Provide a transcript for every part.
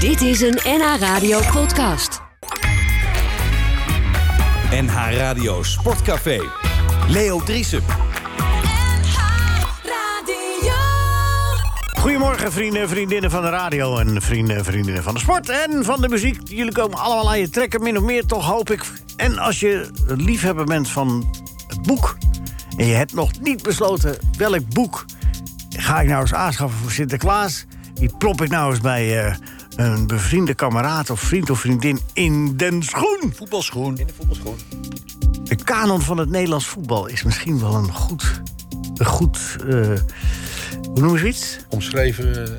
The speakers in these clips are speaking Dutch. Dit is een NH Radio podcast. NH Radio Sportcafé. Leo Driessen. Radio. Goedemorgen vrienden en vriendinnen van de radio en vrienden en vriendinnen van de sport en van de muziek. Jullie komen allemaal aan je trekken, min of meer toch hoop ik. En als je liefhebber bent van het boek en je hebt nog niet besloten welk boek ga ik nou eens aanschaffen voor Sinterklaas. Die plop ik nou eens bij eh, een bevriende kameraad of vriend of vriendin in den schoen. Voetbalschoen. In de voetbalschoen. De kanon van het Nederlands voetbal is misschien wel een goed, een goed, eh, hoe noem je zoiets? omschreven. eh,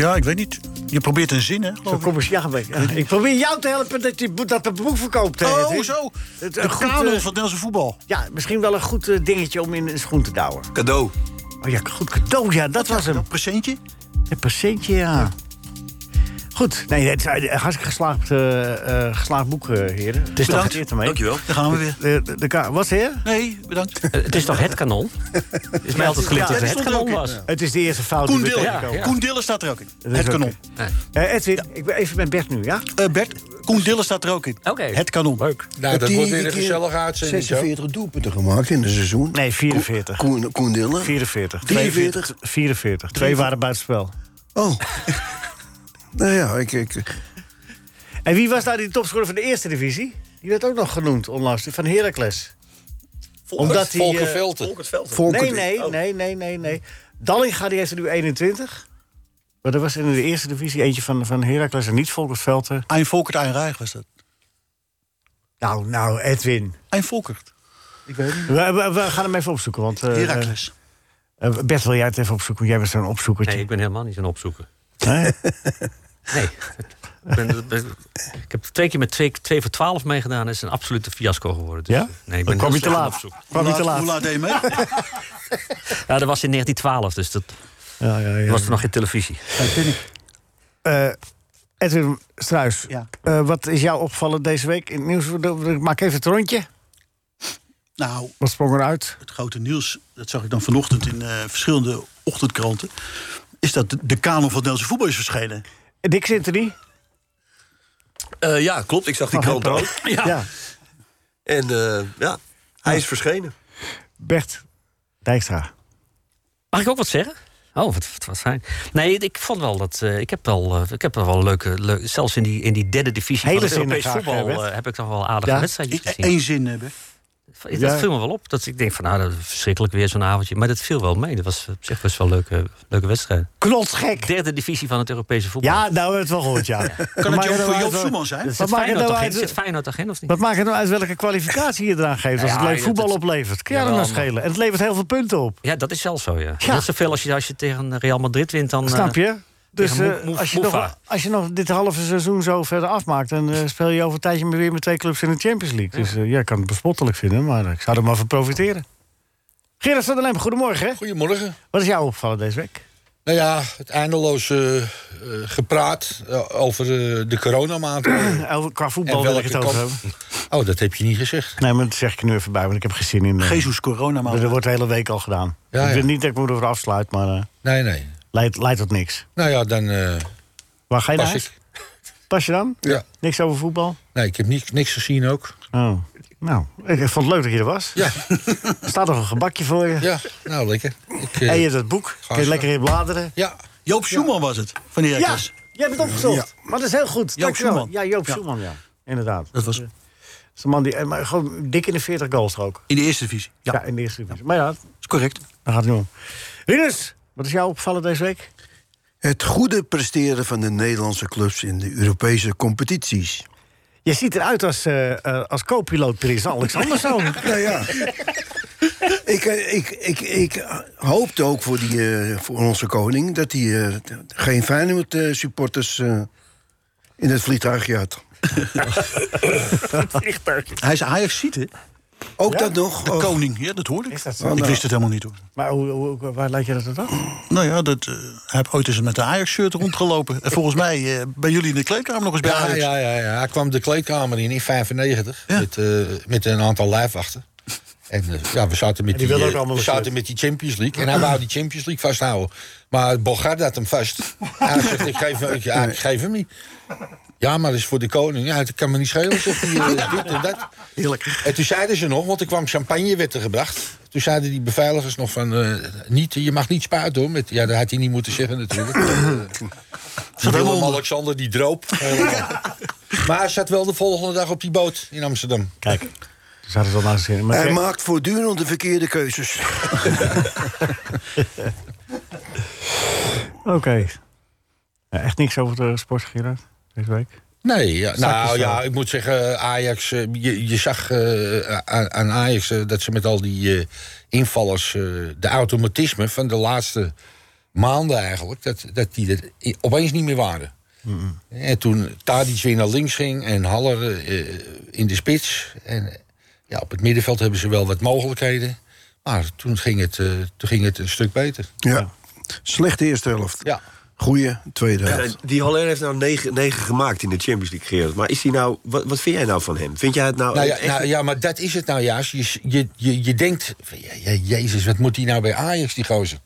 Ja, ik weet niet. Je probeert een zin, hè? Zo geloof ik. kom eens, ja, maar- ja, ik probeer jou te helpen dat je boek- dat het boek verkoopt. hè. Het Oh, is- zo. Het, Het, een goed, kanon eh, van het Nederlandse voetbal. Ja, misschien wel een goed eh, dingetje om in een schoen te douwen. Cadeau. Oh ja, goed cadeau, ja, dat was hem. Dat presentje. Een patiëntje, ja. Goed, nee, het is een hartstikke geslaagd, eh, eh, geslaagd boek, eh, heren. Het is toch- ermee. Dankjewel. Daar gaan we weer. De, de, de ka- wat, heer? Nee, bedankt. Het is toch het kanon? Het is mij altijd geleerd ja, dat het die het stond er kanon ook in, was. ja. Het is de eerste fout. Koen die we Dillen. tegenkomen. Koen Dillen staat er ook in. is Het ook kanon. in. Eh, Edwin, ik ben even met Bert nu, ja? Eh, Bert, Koen Dillen staat er ook in. Oké. Het kanon. Leuk. nou, dat wordt Die weer iedere een keer gezellige uitzending. zo. 46 doelpunten gemaakt in een seizoen. Nee, 44. Koen, Koen Dillen. 44. 43? 44. Twee waren buitenspel. Oh. nou ja, ik, ik, En wie was nou die topscorer van de eerste divisie? Die werd ook nog genoemd onlangs, van Heracles. Omdat hij... Volker eh, Velten. Volker- nee, nee, nee, nee, nee, nee. Dallinga die heeft er nu 21. Maar er was in de eerste divisie eentje van, van Heracles en niet Volkert Velten. Ein Volkert, Ein Rijg was dat. Nou, nou, Edwin. Ein Volkert. We, we, we gaan hem even opzoeken, want... eh, Heracles. eh, eh, Bert, wil jij het even opzoeken? Jij was zo'n Nee, opzoekertje. ik ben helemaal niet aan opzoeken. Nee. Nee. ik, ben, ben- ik heb twee keer met 2 twee voor 12 meegedaan. en Het is een absolute fiasco geworden. Dus, Ja? eh, Nee, ik Dan ben kwam heel je te slecht aan laat. opzoeken. Kwam je te Hoe laat- Hoe laat laat? deed je mee? Ja, dat was in 1912, dus dat Ja, ja, ja. was er nog geen televisie. Eh, Edwin Struis, Ja. eh, wat is jou opvallen deze week in het nieuws? Ik Maak even het rondje. Nou, Wat sprong eruit? het grote nieuws, dat zag ik dan vanochtend in eh, verschillende ochtendkranten... is dat de, de kanon van het Nederlandse voetbal is verschenen. Dick Sintony? Eh, ja, klopt. Ik zag die krant ook. Ja. En eh, ja, hij is verschenen. Bert Dijkstra. Mag ik ook wat zeggen? Oh, wat, wat, wat fijn. Nee, ik vond wel dat. eh, ik, heb wel, eh, ik heb wel wel leuke. leu- zelfs in die, in die derde divisie Hele van het zinnen Europees graag, voetbal hè, Bert? eh, heb ik toch wel aardige Ja. wedstrijdjes gezien. Eén zin eh, hebben. Dat Ja. viel me wel op. Dat ik denk van nou, dat is verschrikkelijk weer zo'n avondje. Maar dat viel wel mee. Dat was op zich best wel een leuke, leuke wedstrijd. Knotsgek. Derde divisie van het Europese voetbal. Ja, nou we hebben we het wel gehoord, ja. Kan Maar het Joop- er waren Joop wel- Zoeman zijn? Zit maakt het Feyenoord toch nou in? uit? Zit Feyenoord toch in of niet? Wat maakt het nou uit welke kwalificatie je eraan geeft... als het Ja, leuk ja, voetbal dat- oplevert? Kan je dat Jawel, nou maar- schelen? En het levert heel veel punten op. Ja, dat is zelfs zo, ja. Ja. Net zoveel als je, als je tegen Real Madrid wint, dan... eh, Snap je? Dus tegen eh, Mo- Mo- als, je nog, Moefa. als je nog dit halve seizoen zo verder afmaakt... dan eh, speel je over een tijdje weer met twee clubs in de Champions League. Dus eh, ja, ik kan het bespottelijk vinden, maar ik zou er maar van profiteren. Gerard van der Lem, goedemorgen. Goedemorgen. Wat is jou opgevallen deze week? Nou ja, het eindeloze eh, eh, gepraat eh, over eh, de coronamaatregelen. Over- Qua voetbal En wil ik het welke over kant- hebben. oh, dat heb je niet gezegd. Nee, maar dat zeg ik er nu even bij, want ik heb geen zin in... eh, Jezus Corona, maar. Er wordt de hele week al gedaan. Ja, ik ja. wil niet dat ik me erover afsluit, maar eh, Nee, nee. leidt, leidt tot niks. Nou ja, dan eh, Waar ga je pas naar? ik. Pas je dan? Ja. Niks over voetbal? Nee, ik heb niks, niks gezien ook. Oh. Nou, ik ik vond het leuk dat je er was. Ja. Er staat nog een gebakje voor je. Ja, nou lekker. Ik, eh, En je hebt het boek. Kun je zo. lekker in bladeren. ja, Joop Schumann was het, van die Ja, Heracles. jij bent opgezocht. Maar dat is heel goed. Dankjewel. Schumann. Ja, Joop Ja. Schumann, ja. Inderdaad. Dat was Dat is een man die... eh, Maar gewoon dik in de 40 goals er ook. in de eerste divisie. Ja, Ja, in de eerste divisie. Maar ja, is correct. daar gaat het niet om. Rinus, wat is jou opgevallen deze week? het goede presteren van de Nederlandse clubs in de Europese competities. Je ziet eruit als, eh eh als co-piloot Prins Alexanderzoon. Nou ja. ik, eh, ik, ik, ik hoopte ook voor, die, eh, voor onze koning dat hij eh, geen Feyenoord-supporters eh, in het vliegtuigje had. Hij is Ajax-ziet, hè? Ook dat nog. Nou. De Oh, koning, ja, dat hoorde ik. Is dat zo? Want ik wist het helemaal niet hoor. Maar hoe, hoe- waar leid je dat dan af? Nou ja, dat, eh, hij heeft ooit eens met de Ajax-shirt rondgelopen. En volgens mij eh, bij jullie in de kleedkamer nog eens bij ja, Ajax. ja, ja, ja. Hij kwam de kleedkamer in in 95 Ja. met, eh, met een aantal lijfwachten. En eh, ja, we zaten met die die, wilde eh, ook allemaal we een zaten sluk. met die Champions League. En hij wou die Champions League vasthouden. Maar Bogard had hem vast. Hij zegt, ik geef, hem- ik, ja, ik geef hem niet. Ja, maar dat is voor de koning. Ja, het kan me niet schelen, zegt hij. eh, dit en dat. Heerlijk. En toen zeiden ze nog, want er kwam champagne werd er gebracht. Toen zeiden die beveiligers nog van, eh, niet, je mag niet spuiten hoor. Met, ja, dat had hij niet moeten zeggen natuurlijk. Zat helemaal onder. Willem-Alexander die droop. maar hij zat wel de volgende dag op die boot in Amsterdam. Kijk, daar zat het al naast zin. Maar Eh, Hij kijk, maakt voortdurend de verkeerde keuzes. Oké. Ja, echt niks over de sport, Gerard, deze week? Nee, ja, nou Zakjes ja, wel. ik moet zeggen, Ajax, eh, je, je zag eh, aan, aan Ajax eh, dat ze met al die eh, invallers eh, de automatisme van de laatste maanden eigenlijk, dat, dat die er i- opeens niet meer waren. En toen Tadic weer naar links ging en Haller eh, in de spits. En eh, ja, op het middenveld hebben ze wel wat mogelijkheden. Maar toen ging het, eh, toen ging het een stuk beter. Ja. Slechte eerste helft. Ja. Goeie tweede Ja, helft. die Haller heeft nou 9, 9 gemaakt in de Champions League, Gerard. Maar is hij nou, wat, wat vind jij nou van hem? Vind jij het nou... Nou ja, echt- nou ja, maar dat is het nou juist. Je, je, je, je denkt, van, ja, ja, jezus, wat moet hij nou bij Ajax, die gozer?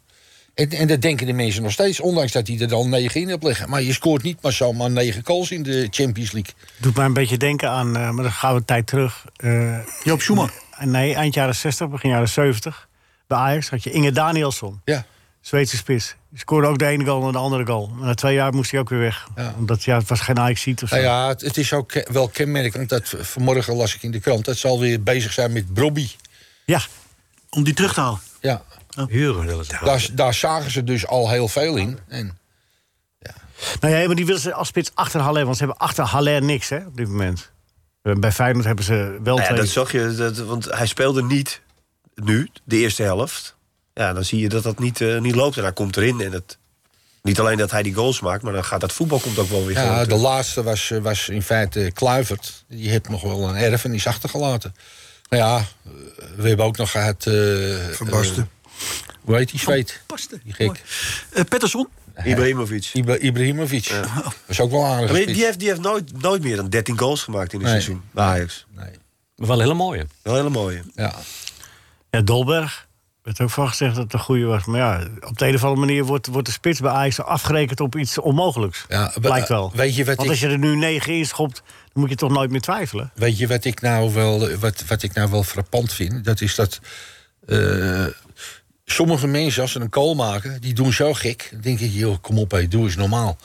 En, en dat denken de mensen nog steeds, ondanks dat hij er dan negen in hebt liggen. Maar je scoort niet maar zomaar negen goals in de Champions League. Doet mij een beetje denken aan, eh, maar dan gaan we een tijd terug. eh, Joop Schumann. nee, eind jaren 60, begin jaren 70. Bij Ajax had je Inge Danielsson, Ja, Zweedse spits. Die scoorde ook de ene goal en de andere goal. Maar na twee jaar moest hij ook weer weg. Ja. Omdat ja, het was geen ajax ziet of zo. nou ja het, het is ook ke- wel kenmerkend. Dat, v- vanmorgen las ik in de krant dat ze alweer bezig zijn met Brobby. Ja, Om die terug te halen. Ja, Huren willen ze. daar, daar zagen ze dus al heel veel in. En, Nou ja, maar die willen ze als spits achter Haller. Want ze hebben achter Haller niks, hè, op dit moment. Eh, Bij Feyenoord hebben ze wel Nou ja, twee. dat zag je, dat, want hij speelde niet nu, de eerste helft. Ja, dan zie je dat dat niet, eh, niet loopt en hij komt erin. En het, niet alleen dat hij die goals maakt, maar dan gaat dat voetbal komt ook wel weer gewoon ja, de terug. laatste was, eh, was in feite Kluivert. Die heeft nog wel een erfenis achtergelaten. Nou ja, eh, we hebben ook nog gehad... eh, Van Basten. Hoe heet die Zweed? Paste. Die Oh, gek. Eh Pettersson. Ibrahimovic. Ibra- Ibrahimovic. Dat is ook wel een aardige Maar spits. die heeft, die heeft nooit, nooit meer dan 13 goals gemaakt in een Nee. seizoen bij Ajax. Nee. Wel een hele mooie. Wel hele mooie. Ja. Ja, Dolberg. Er werd ook van gezegd dat het een goede was. Maar ja, op de een of andere manier wordt, wordt de spits bij Ajax afgerekend op iets onmogelijks. Ja, we- Blijkt wel. weet je wat Want ik- als je er nu negen in schopt, dan moet je toch nooit meer twijfelen. Weet je wat ik nou wel, wat, wat ik nou wel frappant vind? Dat is dat eh, sommige mensen, als ze een kool maken, die doen zo gek. Dan denk ik, joh, kom op, hé, doe eens normaal.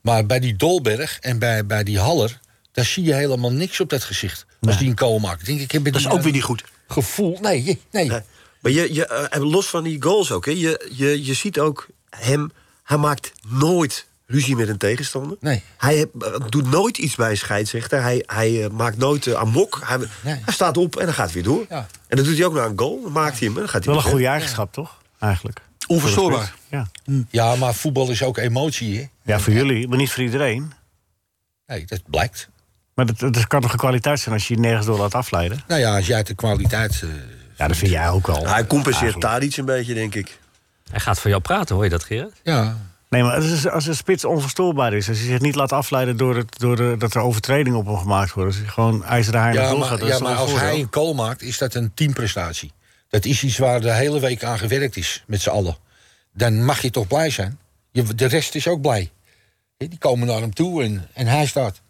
Maar bij die Dolberg en bij, bij die Haller, daar zie je helemaal niks op dat gezicht. Als die een kool maakt. Denk ik, heb nou Dat is ook weer niet goed. gevoel. Nee, je- nee. Ja. Maar je, je, eh, en los van die goals ook, hè, je, je, je ziet ook hem... Hij maakt nooit ruzie met een tegenstander. Nee. Hij eh, doet nooit iets bij een scheidsrechter. Hij, hij eh, maakt nooit eh, amok. Hij, hij staat op en dan gaat hij weer door. Ja. En dat doet hij ook naar een goal. Dan maakt hij hem en dan gaat hij Wel een weer goede eigenschap, toch? Eigenlijk. Onverstoorbaar. Ja. Ja, maar voetbal is ook emotie, hè? ja, voor jullie, maar niet voor iedereen. Nee, dat blijkt. Maar dat, dat kan toch een kwaliteit zijn als je je nergens door laat afleiden? Nou ja, als jij de kwaliteit... eh, Ja, dat vind jij ook al. Hij compenseert Eigenlijk. Tadic een beetje, denk ik. Hij gaat van jou praten, hoor je dat, Gerard? ja, Nee, maar als, als een spits onverstoorbaar is, als hij zich niet laat afleiden door, het, door de, dat er overtredingen op hem gemaakt worden, als hij gewoon ijzeren haar ja, doorgaat, maar, dat ja, is toch maar een als voordeel? hij een call maakt, is dat een teamprestatie. Dat is iets waar de hele week aan gewerkt is, met z'n allen. Dan mag je toch blij zijn? Je, de rest is ook blij. Hè, Die komen naar hem toe en, en hij staat.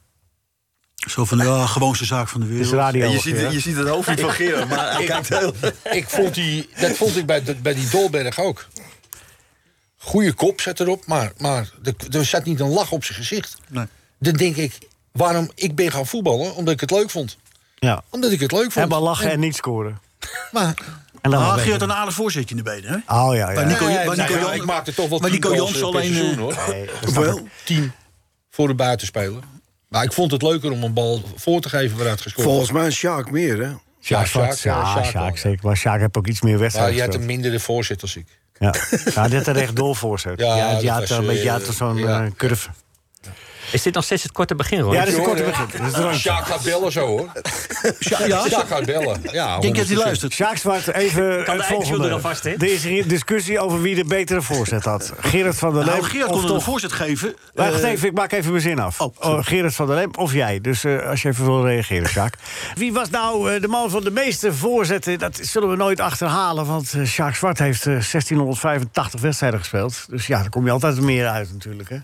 Zo van, ja, gewoonste zaak van de Het wereld. is radio. En je, Ja, ziet, je ziet het hoofd niet van Gerard, maar hij kijkt heel... Ik vond die, dat vond ik bij, de- bij die Dolberg ook. Goeie kop zat erop, maar, maar er, er zat niet een lach op zijn gezicht. Nee. Dan denk ik, waarom ik ben gaan voetballen? Omdat ik het leuk vond. Omdat ik het leuk vond. En maar lachen en niet scoren. Maar, En dan Maar wel Gerard, beter. een aardig voorzetje in de benen, hè? Oh ja, Maar ja. Nico, Nee, maar nee, Nico maar Jan- ik maakte toch wel maar tien Nico goals, Jans eh, per alleen, eh, seizoen, hoor. Nee, dat snap ik. Wel, tien voor de buitenspeler. Maar ik vond het leuker om een bal voor te geven waaruit gescoord werd. Volgens mij Sjaak meer, hè? Ja, Sjaak, Sjaak, ja, ja, Sjaak Sjaak, wel, zeker. Maar Sjaak heeft ook iets meer Maar je wedstrijd had een gespeeld. mindere voorzet als ik. Ja, ja dit er echt door voor zet. Ja, Ja, die dat had was, een beetje eh, had toch zo'n ja. eh, curve. Is dit nog steeds het korte begin, Roy? Ja, dat is een Jongen, korte hè? begin. Dat is het randje. Sjaak gaat bellen zo, hoor. ja? Sjaak gaat bellen. Ja, Ik denk dat 100%. hij luistert. Sjaak Zwart, even Kan de het eindtune volgende. er alvast in? Er is hier discussie over wie de betere voorzet had. Gerard van der Leem Nou, Gerard of kon hem een toch... voorzet geven. Wacht Eh, even, ik maak even mijn zin af. oh, sorry. Oh, Gerard van der Leem of jij. Dus eh, als je even wil reageren, Sjaak. Wie was nou eh, de man van de meeste voorzetten? Dat zullen we nooit achterhalen, want eh, Sjaak Zwart heeft eh, 1685 wedstrijden gespeeld. Dus ja, daar kom je altijd meer uit natuurlijk, hè?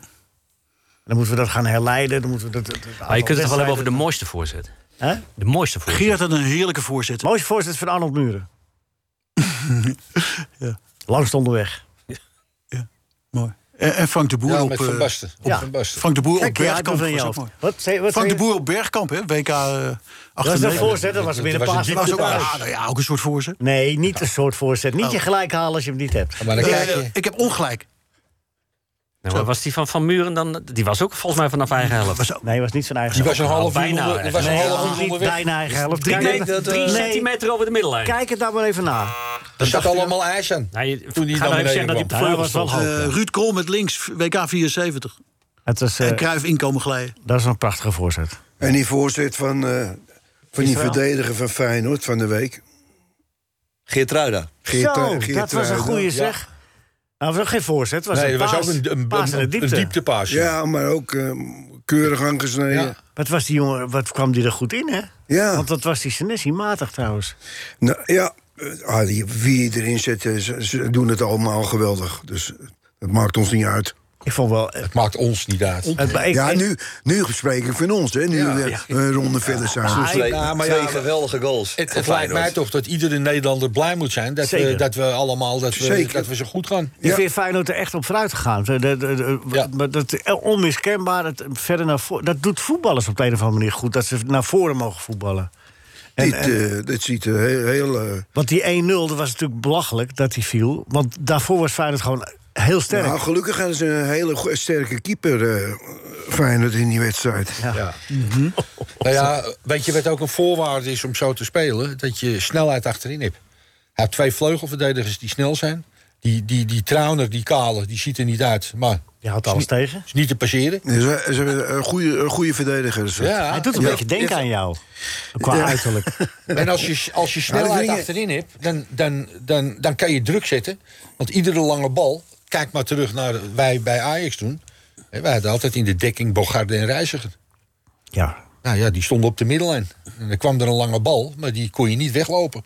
En dan moeten we dat gaan herleiden. Dan moeten we dat, dat- dat Maar je kunt het toch wel aantal hebben over de mooiste voorzet. Hè? De mooiste voorzet. Gerard had een heerlijke voorzet. Mooiste voorzet van Arnold Muren. Langst onderweg. Mooi. En, en Frank de Boer Ja, op... met Van eh, Basten. Op ja. Van Basten. Frank de Boer op Kijk, ja, Bergkamp. ik was ben van je ook hoofd. mooi. Wat zei- wat Frank de zei- Boer op Bergkamp, hè? WK eh, Dat was de 98. voorzet, dat was Dat weer een was een paas. diepte dat was ook paas. uit. Ah, nou ja, ook een soort voorzet. Nee, niet een soort voorzet. Oh. Niet je gelijk halen als je hem niet hebt. Maar dan kijk Eh, je. ik heb ongelijk. Nou, maar was die van Van Muren dan... Die was ook volgens mij vanaf eigen helft. Was ook- Nee, was niet zijn eigen Die was helft. een half uur bijna, onder- die was een Nee, half was uur niet onderweg. bijna eigen helft. Drie, Kijk, met- drie nee. centimeter over de middellijn. Kijk het daar maar even na. Er zat allemaal ijs aan. Nou, je, Toen die ga naar nou beneden even zeggen dat die kwam. op de Nou, vleugel dat was wel stond. hoog. Eh, Ruud Kool met links, WK 74. Het was, eh, En Cruijff inkomen glijden. dat is een prachtige voorzet. En die voorzet van, eh, van die Israël. verdediger van Feyenoord van de week. Geert Ruida. Geert- eh, Zo, Geert dat was een Ruida. goede zeg. Nou, het was ook geen voorzet. Het was Nee, een er was paas, ook een, een, paas in de een, een diepte. dieptepaas. ja. Ja, maar ook eh, keurig aangesneden. Ja. Wat, was die jongen, wat kwam die er goed in, Oh. hè? Ja. Want dat was die Senesi matig trouwens. Nou, ja. eh, ah, die, wie erin zit, eh, ze, ze doen het allemaal geweldig. Dus eh, dat maakt ons niet uit. Ik vond wel... eh, Het maakt ons niet uit. het- ik- ja, ik- nu, nu spreek ik van ons, hè. Nu we eh, een ronde verder zijn. Twee, ja, maar twee ja, geweldige goals. Het, van het lijkt mij Feyenoord. toch dat iedere Nederlander blij moet zijn dat, we, Zeker. dat we allemaal dat we, Zeker. dat we zo goed gaan. Ik Ja. vind Feyenoord er echt op vooruit gegaan. De, de, de- de- Ja. maar dat, eh, onmiskenbaar, het, verder naar voren. Dat doet voetballers op de een of andere manier goed. Dat ze naar voren mogen voetballen. dit, eh, dit ziet er heel... heel eh, Want die 1-0, dat was natuurlijk belachelijk dat die viel. Want daarvoor was Feyenoord gewoon heel sterk. nou, gelukkig hadden ze een hele go- sterke keeper, eh Feyenoord, in die wedstrijd. Ja. Nou ja, weet je wat ook een voorwaarde is om zo te spelen? Dat je snelheid achterin hebt. Hij heeft twee vleugelverdedigers die snel zijn. Die, die, die Trauner, die Kale, die ziet er niet uit. Maar Je houdt alles tegen. is niet te passeren. Dus, eh, ze hebben een goede, een goede verdediger. dus is dat. Ja. Hij doet een Ja. beetje denken aan jou. Qua Ja. uiterlijk. En als je, als je Nou, dat snelheid ding- achterin hebt, dan, dan, dan, dan kan je druk zetten. Want iedere lange bal, kijk maar terug naar wij bij Ajax toen. Hè, Wij hadden altijd in de dekking Bogarde en Reiziger. Ja. Nou ja, die stonden op de middellijn. En dan kwam er een lange bal, maar die kon je niet weglopen.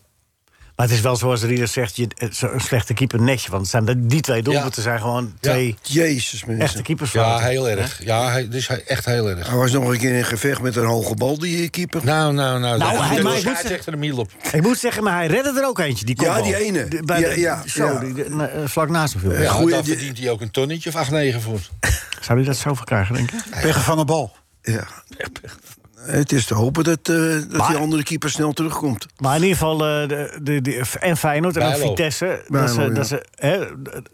Maar het is wel zoals Rieder zegt, je, eh, zo- een slechte keeper netje. Want het zijn de- die twee doelpunten zijn gewoon twee Jezus, echte mensen. keepers. Ja, heel erg. Ja, hij, dus hij- echt heel erg. Hij was nog een keer in gevecht met een hoge bal, die eh, keeper. Nou, nou, nou. Nou, hij- maar ik moet hij zegt er een middel op. Ik moet zeggen, maar hij redde er ook eentje. Die Ja, kopbal. die ene. De- Bij Ja, de- ja, zo, ja. die- de- na- eh, vlak naast hem viel. Ja, goeie- daar die- verdient hij ook een tonnetje of 8-9 voor. Zou hij dat zo voor krijgen, denk ik? Peggen van de bal. Ja. Het is te hopen dat, eh, dat die andere keeper snel terugkomt. Maar in ieder geval, eh, de, de, de- en Feyenoord en ook Bijlo. Vitesse... dat Bijlo, ze, ja. dat ze hè,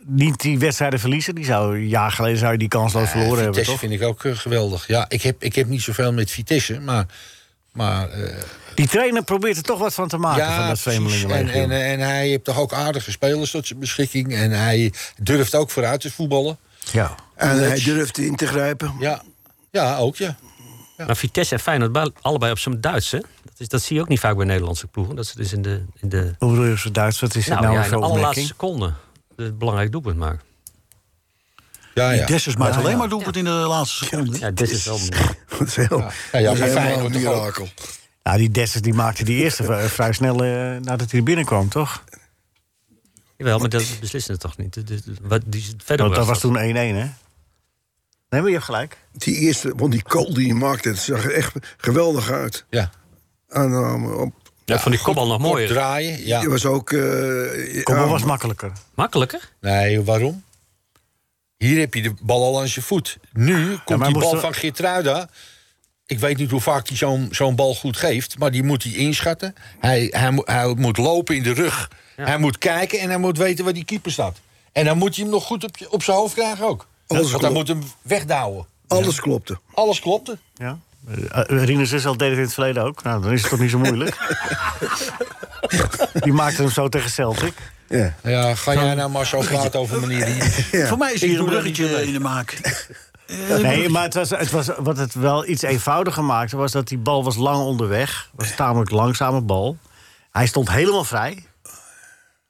niet die wedstrijden verliezen. Die zou, een jaar geleden zou je die kansloos verloren hebben, Vitesse toch? vind ik ook eh, geweldig. Ja, ik heb, ik heb niet zoveel met Vitesse, maar... maar eh, Die trainer probeert er toch wat van te maken van dat precies. en, vreemdelingenlegioen. en, en hij heeft toch ook aardige spelers tot zijn beschikking. En hij durft ook vooruit te voetballen. Ja. En hij durft in te grijpen. Ja, ja ook ja. Maar Vitesse en Feyenoord, bij- allebei op zijn Duits, hè? Dat, is, dat zie je ook niet vaak bij Nederlandse ploegen. Dat ze dus in de, in de, Hoe bedoel je op z'n Duits? Wat is het nou, nou, ja, in voor de allerlaatste opmerking? seconde het belangrijk doelpunt maken. Ja, Die ja. Dessers maakt alleen maar doelpunt in de laatste seconde. Ja, dit is wel... Dat is heel, maar dat is helemaal Feyenoord een toch ook? mirakel. Nou, die Dessers die maakte die eerste v- vrij snel eh, nadat hij er binnenkwam, toch? Jawel, maar dat beslissen het toch niet. De- de- de- wat, die verder Want was dat was toen 1-1, hè? Nee, maar je hebt gelijk. Die eerste, want die goal die hij maakte, het zag er echt geweldig uit. ja. Aanname op. Ja, van die kopbal nog Mooi mooier. draaien, Die ja. was ook... eh, Kom, ja, was makkelijker. Makkelijker? Nee, waarom? Hier heb je de bal al aan zijn voet. Nu komt maar die moesten bal we- van Geertruida. Ik weet niet hoe vaak hij zo'n zo'n bal goed geeft. Maar die moet hij inschatten. Hij, hij, mo- hij moet lopen in de rug. Hij moet kijken en hij moet weten waar die keeper staat. En dan moet hij hem nog goed op, je- op zijn hoofd krijgen ook. Alles Want hij moet klopt. hem wegdouwen. alles klopte. Alles klopte. Ja. Uh, Rinus is al deed het in het verleden ook. Nou, dan is het toch niet zo moeilijk. die maakte hem zo tegen Celtic. Ja. Ja, ga jij nou maar zo praten over meneer Rieders. Voor mij is Ik hier een doe dat eh, bruggetje in de maak. Nee, maar het was, het was, wat het wel iets eenvoudiger maakte... was dat die bal was lang onderweg. was een tamelijk langzame bal. Hij stond helemaal vrij.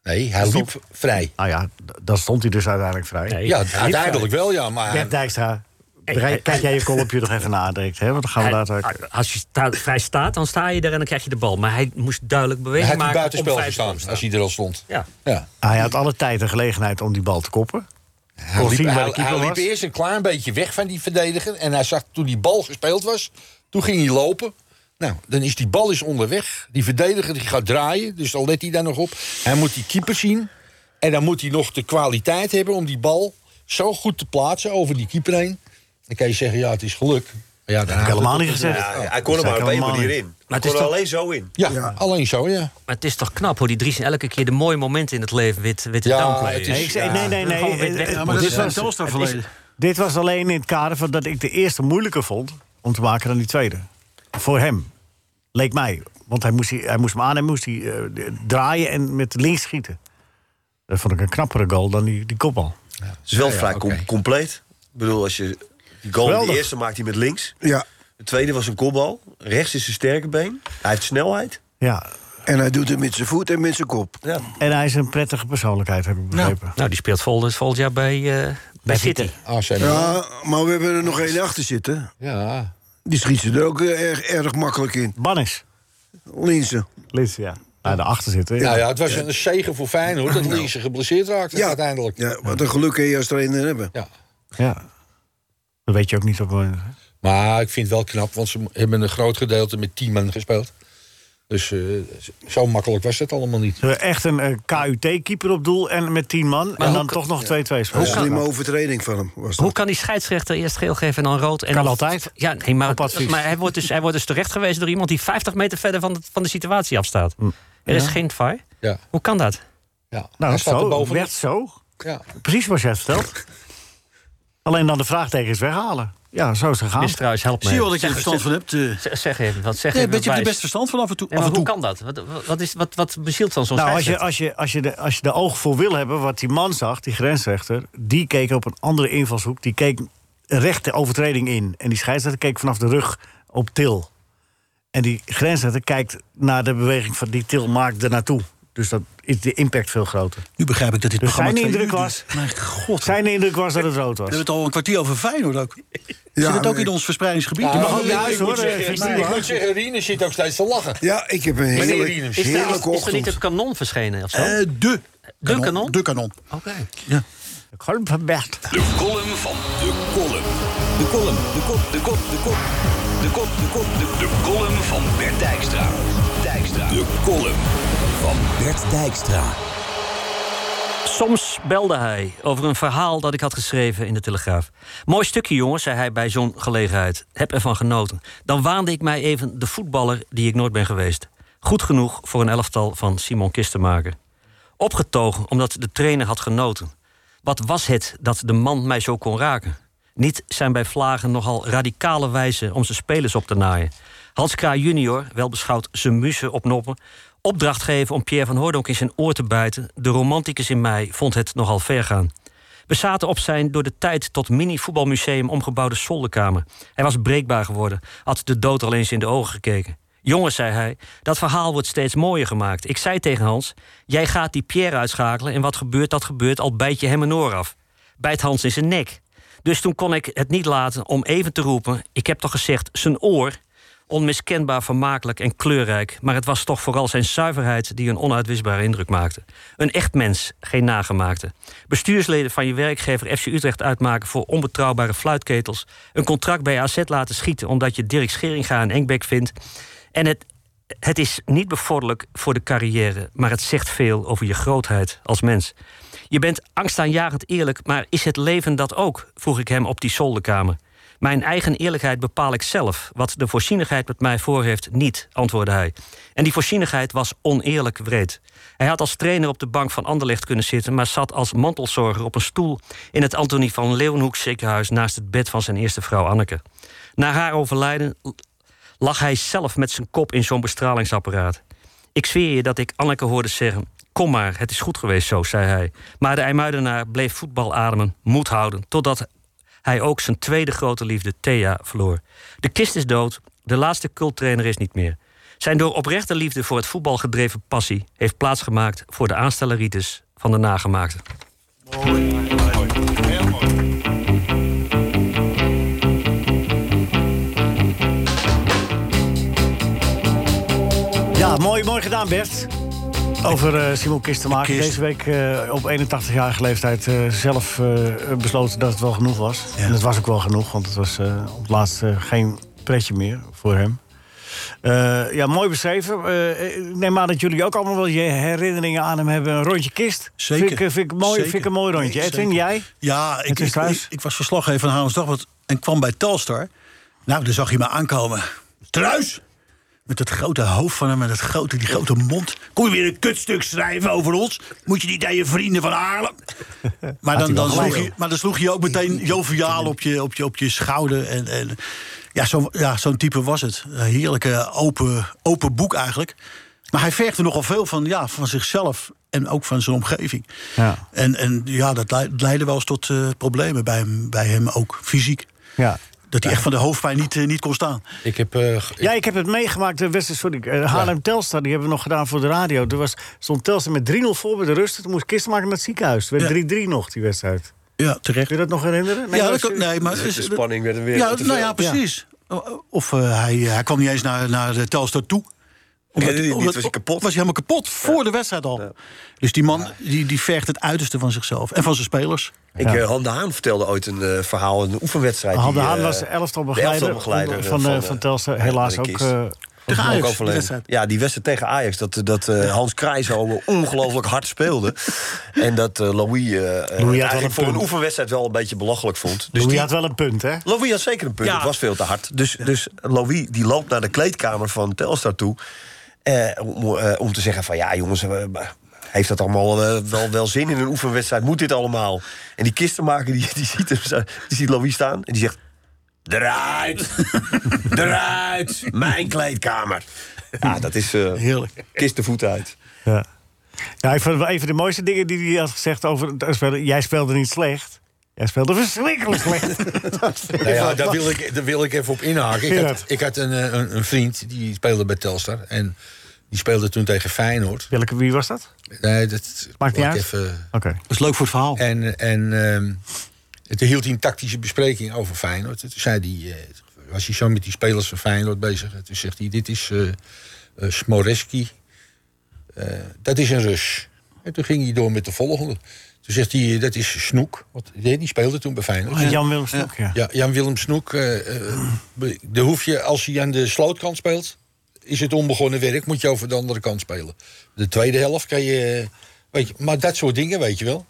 Nee, hij liep vrij. Nou ja, d- dan stond hij dus uiteindelijk vrij. Nee. Ja, hij liep uiteindelijk wel, ja. Maar Bert Dijkstra, bereik- hey, kijk jij je kolompje nog even na direct, hè? Want dan gaan we Hij- later... als je sta- vrij staat, dan sta je er en dan krijg je de bal. Maar hij moest duidelijk bewegen hij had maken. een buitenspel om vrij te gestaan, komen staan. als hij er al stond. Ja. Ja. Hij had alle tijd en gelegenheid om die bal te koppen. Hij Kon liep, zien waar hij, de keeper hij liep was. eerst een klein beetje weg van die verdediger. En hij zag toen die bal gespeeld was, toen ging hij lopen. Nou, dan is die bal is onderweg. Die verdediger die gaat draaien, dus dan let hij daar nog op. Hij moet die keeper zien. En dan moet hij nog de kwaliteit hebben om die bal zo goed te plaatsen over die keeper heen. Dan kan je zeggen, ja, het is geluk. Maar Ja, Dat heb ik helemaal niet Ja, gezegd. Dus hij kon er maar Dat zei op ik één helemaal manier niet. in. Maar Maar het hij kon is er toch- alleen zo in. Ja, alleen zo, ja. Maar het is toch knap hoe die Driesen elke keer de mooie momenten in het leven wit, witte Ja, downplay. het is- Nee, ik zei, Ja. nee, nee, nee. Gewoon weer weg. eh, Ja, maar eh, dat dit is van was- Telstar het is- verleden. Dit was alleen in het kader van dat ik de eerste moeilijker vond om te maken dan die tweede. Voor hem. Leek mij. Want hij moest, hij hij moest hem aan en moest hij eh, draaien en met links schieten. Dat vond ik een knappere goal dan die, die kopbal. Het is wel Ah Ja, ja, vrij oké. com- compleet. Ik bedoel, als je die goal, Geweldig. de eerste maakt hij met links. Ja, De tweede was een kopbal. Rechts is zijn sterke been. Hij heeft snelheid. Ja. en hij doet het met zijn voet en met zijn kop. Ja. En hij is een prettige persoonlijkheid, heb ik begrepen. Nou, die speelt vol, volgend jaar bij, eh, bij City. AC Milan. Ja, maar we hebben er nog één achter zitten. Ja. Die schiet ze er ook eh, erg, erg makkelijk in. Bannis. Linsen. Lits, ja. Nou, daarachter zitten. Nou ja, het was een zegen voor Feyenoord dat Linse geblesseerd raakte Ja. uiteindelijk. Ja, wat een geluk kun je als trainer hebben. Ja. Ja. Dat weet je ook niet op. een- Maar ik vind het wel knap, want ze hebben een groot gedeelte met 10 man gespeeld. Dus eh, zo makkelijk was dat allemaal niet. Zo Echt een eh, KUT-keeper op doel en met 10 man. en dan toch nog 2-2 Een spelen. slimme overtreding van hem was Hoe dat. kan die scheidsrechter eerst geel geven en dan rood? En Kan dan- altijd. Ja, nee, maar, Op advies. maar hij, wordt dus, hij wordt dus terecht gewezen door iemand die 50 meter verder van de, van de situatie afstaat. Hm. Er is geen VAR. Ja. Hoe kan dat? Ja. Nou, Hij staat er zo, bovenop. werd zo. Ja. Precies wat jij vertelt. Alleen dan de vraagtekens weghalen. Ja, zo is het gegaan. Mistruis, help me. Ah. Zie je wel dat je Zeg- er verstand van hebt? eh. zeg- Zeg even, wat zeg Ja, even. een beetje wat wijs. de beste verstand van af en toe. Ja, maar af en hoe toe. kan dat? Wat, wat- wat, is, wat, wat bezielt dan zo'n Nou, als je, scheidsrechter? als, je, als, je de, als je de oog voor wil hebben wat die man zag, die grensrechter... die keek op een andere invalshoek. Die keek recht de overtreding in. En die scheidsrechter keek vanaf de rug op til. En die grensrechter kijkt naar de beweging van die til maakt er naartoe. Dus dat is de impact veel groter. Nu begrijp ik dat dit Dus programma zijn twee indruk uur was- duurt. Mijn god. Zijn indruk was dat het rood We was. hebben het al een kwartier over Feyenoord ook. Zit het maar ook in ik- ons verspreidingsgebied? Je mag ook ook- niet uit, hoor, eh, Ik Christine. moet zeggen, Rien zit ook steeds te lachen. Ja, ik heb een heerlijk, Rieners. Is er, is, heerlijke is er niet ochtend. een kanon verschenen of zo? Eh, de. De kanon? De kanon. Oké. Gewoon verbergd. De column van de column. De column, de kop, de kop, de kop. De kop, de kop, de De column van Bert Dijkstra. Dijkstra. De column van Bert Dijkstra. Soms belde hij over een verhaal dat ik had geschreven in de Telegraaf. Mooi stukje, jongens, zei hij bij zo'n gelegenheid. Heb ervan genoten. Dan waande ik mij even de voetballer die ik nooit ben geweest. Goed genoeg voor een elftal van Simon Kistenmaker. Opgetogen omdat de trainer had genoten. Wat was het dat de man mij zo kon raken? Niet zijn bij vlagen nogal radicale wijzen om zijn spelers op te naaien. Hans Kraai junior, wel beschouwd zijn muze opnoppen... opdracht geven om Pierre van Hooydonk in zijn oor te bijten... de romanticus in mij vond het nogal ver gaan. We zaten op zijn door de tijd tot mini-voetbalmuseum omgebouwde zolderkamer. Hij was breekbaar geworden, had de dood al eens in de ogen gekeken. Jongens, zei hij, dat verhaal wordt steeds mooier gemaakt. Ik zei tegen Hans, jij gaat die Pierre uitschakelen... en wat gebeurt, dat gebeurt, al bijt je hem een oor af. Bijt Hans in zijn nek. Dus toen kon ik het niet laten om even te roepen... ik heb toch gezegd, zijn oor... Onmiskenbaar vermakelijk en kleurrijk, maar het was toch vooral zijn zuiverheid die een onuitwisbare indruk maakte. Een echt mens, geen nagemaakte. Bestuursleden van je werkgever FC Utrecht uitmaken voor onbetrouwbare fluitketels. Een contract bij AZ laten schieten omdat je Dirk Scheringa en Enkbeek vindt. En het, het is niet bevorderlijk voor de carrière, maar het zegt veel over je grootheid als mens. Je bent angstaanjagend eerlijk, maar is het leven dat ook? vroeg ik hem op die zolderkamer. Mijn eigen eerlijkheid bepaal ik zelf. Wat de voorzienigheid met mij voor heeft, niet, antwoordde hij. En die voorzienigheid was oneerlijk wreed. Hij had als trainer op de bank van Anderlecht kunnen zitten... maar zat als mantelzorger op een stoel... in het Antonie van Leeuwenhoek ziekenhuis... naast het bed van zijn eerste vrouw Anneke. Na haar overlijden lag hij zelf met zijn kop in zo'n bestralingsapparaat. Ik zweer je dat ik Anneke hoorde zeggen... Kom maar, het is goed geweest zo, zei hij. Maar de IJmuidenaar bleef voetbal ademen, moed houden... totdat hij ook zijn tweede grote liefde, Thea, verloor. De kist is dood, de laatste culttrainer is niet meer. Zijn door oprechte liefde voor het voetbal gedreven passie heeft plaatsgemaakt voor de aanstelleritis van de nagemaakte. Ja, mooi, mooi gedaan, Bert. Over eh, Simon Kistenmaker. Kist. Deze week eh, op 81-jarige leeftijd eh, zelf eh, besloten dat het wel genoeg was. En het was ook wel genoeg, want het was eh, op het laatst eh, geen pretje meer voor hem. Eh, ja, mooi beschreven. Eh, ik neem aan dat jullie ook allemaal wel je herinneringen aan hem hebben. Een rondje kist. Zeker. Vind ik, eh, vind ik, mooi, Zeker. vind ik een mooi rondje. Nee, Edwin, zeker. jij? Ja, ik, is ik, thuis. ik, ik was verslaggever van Haarlems Dagblad en kwam bij Telstar. Nou, daar zag je me aankomen. Truis! Met dat grote hoofd van hem en dat grote, die grote mond. Kom je weer een kutstuk schrijven over ons? Moet je niet aan je vrienden van Haarlem? Maar dan, dan, sloeg, je, maar dan sloeg je ook meteen joviaal op je, op je, op je schouder. En, en, ja, zo'n ja, zo'n type was het. Een heerlijke open, open boek eigenlijk. Maar hij vergde nogal veel van, ja, van zichzelf en ook van zijn omgeving. Ja. En, en ja, dat lei- leidde wel eens tot eh, problemen bij hem, bij hem ook fysiek. Ja. Dat hij echt van de hoofdpijn niet, eh, niet kon staan. Ik heb... eh, g- Ja, ik heb het meegemaakt. De Westen, sorry, eh, Haarlem Telstar, die hebben we nog gedaan voor de radio. Toen was, stond Telstar met 3-0 voor bij de rust. Toen moest Kistenmaker naar het ziekenhuis. Het werd Ja. 3-3 nog, die wedstrijd. Ja, terecht. Kun je dat nog herinneren? ja, dat maar- kan, nee, maar Dus de spanning werd er weer Ja, te nou ja, veel. precies. O- Of eh, hij, hij kwam niet eens naar, naar de Telstar toe. Omdat, dit- dit was hij kapot. Was hij helemaal kapot voor de wedstrijd al. Dus die man die, die vergt het uiterste van zichzelf en van zijn spelers. Ik, eh, Han de Haan vertelde ooit een eh, verhaal, een oefenwedstrijd. Han de die, Haan eh, was de elftal begeleider, begeleider van, van, van, eh, eh, van Telstar. ja, Helaas bij de ook. Kist. eh, Tegen Ook Ajax, die overleden. wedstrijd. Ja, die wedstrijd tegen Ajax. Dat, dat eh, Hans Krij zo ongelooflijk hard speelde. En dat eh, Louis, eh, eh, wel eigenlijk een voor punt. een oefenwedstrijd wel een beetje belachelijk vond. Dus Louis die, had wel een punt, hè? Eh, Louis had zeker een punt. Ja. Het was veel te hard. Dus, dus Louis die loopt naar de kleedkamer van Telstar toe. eh, om, eh, om te zeggen van ja jongens... eh, heeft dat allemaal eh, wel, wel zin in een oefenwedstrijd? Moet dit allemaal? En die kistenmaker die, die, ziet, hem, zo- die ziet Louis staan en die zegt... Eruit! Eruit! Mijn kleedkamer! Ja, dat is... eh, Heerlijk. Kist de voet uit. Ja. Ja, ik vond wel een van de mooiste dingen die hij had gezegd over het spelen. Jij speelde niet slecht. Jij speelde verschrikkelijk slecht. Dat vind ik Nou ja, wel- daar wil, ik, daar wil ik even op inhaken. Ik had, Gerard. ik had een, eh, een, een vriend die speelde bij Telstar. En die speelde toen tegen Feyenoord. Welke, wie was dat? Nee, dat Maakt niet laat ik uit. Even, Oké. Dat is leuk voor het verhaal. en en ehm, toen hield hij een tactische bespreking over Feyenoord. Toen zei hij, eh, was hij zo met die spelers van Feyenoord bezig. Toen zegt hij, dit is eh eh, Smoreski. Eh, dat is een Rus. En toen ging hij door met de volgende. Toen zegt hij, dat is Snoek. Want die die speelde toen bij Feyenoord. Jan Willem Snoek, ja. Ja, Jan-Willem Snoek, eh, eh, be- daar hoef je, als hij aan de slootkant speelt, is het onbegonnen werk, moet je over de andere kant spelen. De tweede helft kan je, eh, weet je maar dat soort dingen, weet je wel.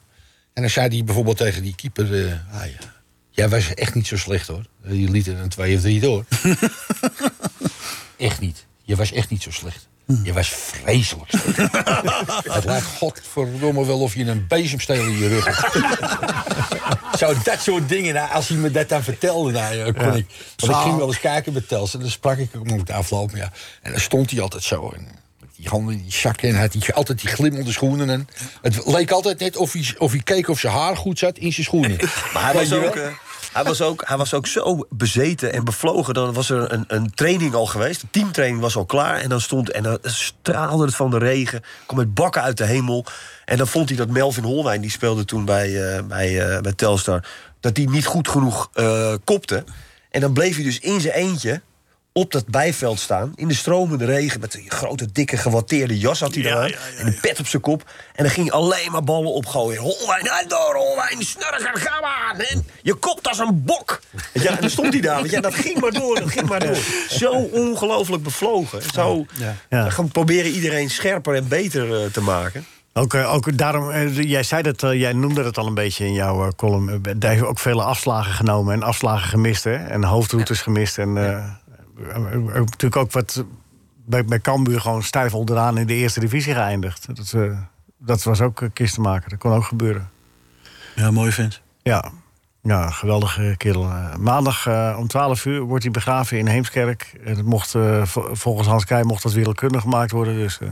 En dan zei hij bijvoorbeeld tegen die keeper, eh, ah ja, jij was echt niet zo slecht hoor. Je liet er een twee of drie door. echt niet. Je was echt niet zo slecht. Je was vreselijk slecht. Het lijkt godverdomme wel of je een bezemsteel in je rug hebt. Zo, dat soort dingen. Nou, als hij me dat dan vertelde, nou, ja, kon ik. Want ik ging wel eens kijken bij Tels. En dan sprak ik hem op de afloop. Ja. En dan stond hij altijd zo. En met die handen in die zakken. En had hij altijd die glimmende schoenen. En het leek altijd net of hij, of hij keek of zijn haar goed zat in zijn schoenen. Maar hij Weet was, je wel? ook, eh, hij, was ook, hij was ook zo bezeten en bevlogen. Dan was er een, een training al geweest. De teamtraining was al klaar. En dan, stond, en dan straalde het van de regen. Kom met bakken uit de hemel. En dan vond hij dat Melvin Holwijn, die speelde toen bij, eh, bij, eh, bij Telstar... dat die niet goed genoeg eh, kopte. En dan bleef hij dus in zijn eentje op dat bijveld staan, in de stromende regen... met die grote, dikke, gewatteerde jas had hij Ja, daar aan. ja, ja, en een pet op zijn kop. En dan ging hij alleen maar ballen opgooien. Holwijn, uit door, Holwijn, snurker, ga maar aan. En je kopt als een bok. Weet je, en dan stond hij daar, weet je, en dat ging maar door, dat ging maar door. Zo ongelooflijk bevlogen. Zo Ja. gaan proberen iedereen scherper en beter eh, te maken. Ook, eh, ook daarom, eh, jij, zei dat, eh, jij noemde dat al een beetje in jouw eh, column. Eh, Daar heeft ook vele afslagen genomen en afslagen gemist. Hè? En hoofdroutes gemist. En eh, eh, eh, natuurlijk ook wat bij, bij Cambuur gewoon stijf onderaan in de eerste divisie geëindigd. Dat, eh, dat was ook eh, kistenmaker. Dat kon ook gebeuren. Ja, mooi vent. Ja, ja geweldige kerel. Eh, Maandag eh, om 12 uur wordt hij begraven in Heemskerk. En het mocht, eh, vo- volgens Hans Keij mocht dat willekeurig gemaakt worden. Dus, eh,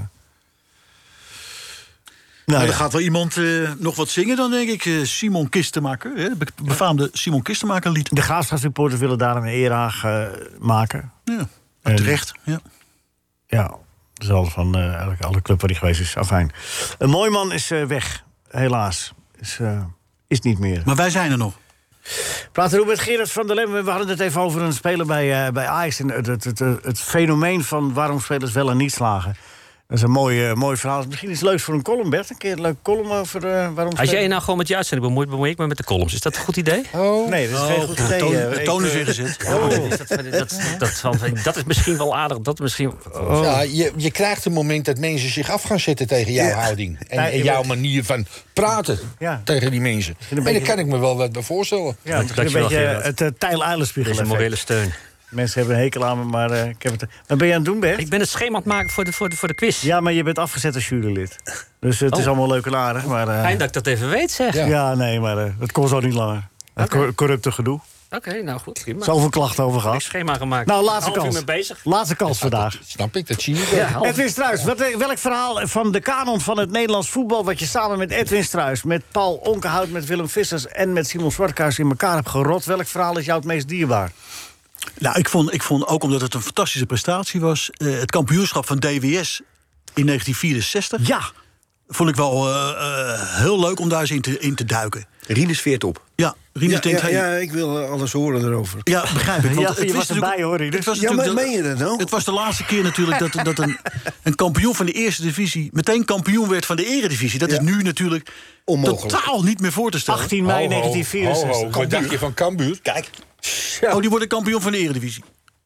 Nou Nou, ja. Er gaat wel iemand eh, nog wat zingen dan, denk ik. Eh, Simon Kistemaker, hè? het be- befaamde Simon Kistemaker lied. De graafschapsreporters willen daar een eer maken. Ja. En- Terecht, ja. Ja, dat is al van eh, eigenlijk alle club waar hij geweest is. Afijn. Een mooi man is eh, weg, helaas. Is, eh, is niet meer. Maar wij zijn er nog. Praten we met Gerard van der Lem. We hadden het even over een speler bij, eh, bij Ajax. En het, het, het, het fenomeen van waarom spelers wel en niet slagen. Dat is een mooi, eh, mooi verhaal. Misschien iets leuks voor een column, Bert. Een keer een leuke column over eh, waarom... Als jij je spelers- nou gewoon met je uitzending bemoeit, bemoei ik me met de columns. Is dat een goed idee? Nee, dat is Oh, geen goed idee. eh, Toon, ik, toon is eh, ingezet. Dat, dat, dat, dat, dat is misschien wel aardig. Dat misschien... Oh. Ja, je, je krijgt een moment dat mensen zich af gaan zetten tegen jouw houding. En, Ja, en je jouw wordt- manier van praten Ja. tegen die mensen. een En daar beetje- kan ik me wel wat bij voorstellen. Ja, het is een Dankjewel, beetje eh, Gerard. het uh, Dit Tijl is een morele Eilenspiegel steun. Mensen hebben een hekel aan me, maar eh, ik heb het... Wat ben je aan het doen, Bert? Ik ben het schema aan het maken voor de, voor de, voor de quiz. Ja, maar je bent afgezet als jurylid. Dus het is Oh. allemaal leuk en aardig, maar... eh, Fijn dat ik dat even weet, zeg. Ja. ja, nee, maar eh, dat kon zo niet langer. Het cor- corrupte gedoe. Oké, nou goed. Prima. Zoveel klachten over Ik heb gehad. schema gemaakt. Nou, laatste Half uur kans. mee bezig. Laatste kans vandaag. Snap ik, dat zie ik. Ja, wel. half- Edwin Struis, wat, eh, welk verhaal van de kanon van het Nederlands voetbal... wat je samen met Edwin Struis, met Paul Onkenhout, met Willem Vissers... en met Simon Zwartkuis in elkaar hebt gerot... welk verhaal is jou het meest dierbaar? Nou, ik vond, ik vond ook omdat het een fantastische prestatie was. eh, het kampioenschap van DWS in 1964. Ja, Vond ik wel eh, eh, heel leuk om daar eens in te, in te duiken. Rinus veert op. Ja, Rinus Ja, denkt. ja, hey, ja, ik wil eh, alles horen erover. Ja, begrijp ik. Want Ja, je het was was erbij, hoor, Rinus. Het was, Ja, natuurlijk maar de- meen je dat nou? het was de laatste keer natuurlijk dat, dat een, een kampioen van de eerste divisie... meteen kampioen werd van de eredivisie. Dat is nu natuurlijk Onmogelijk. totaal niet meer voor te stellen. 18 mei Ho, ho, ho, ho, 1964. Wat dacht je van Cambuur? Kijk, Oh, die worden kampioen van de eredivisie.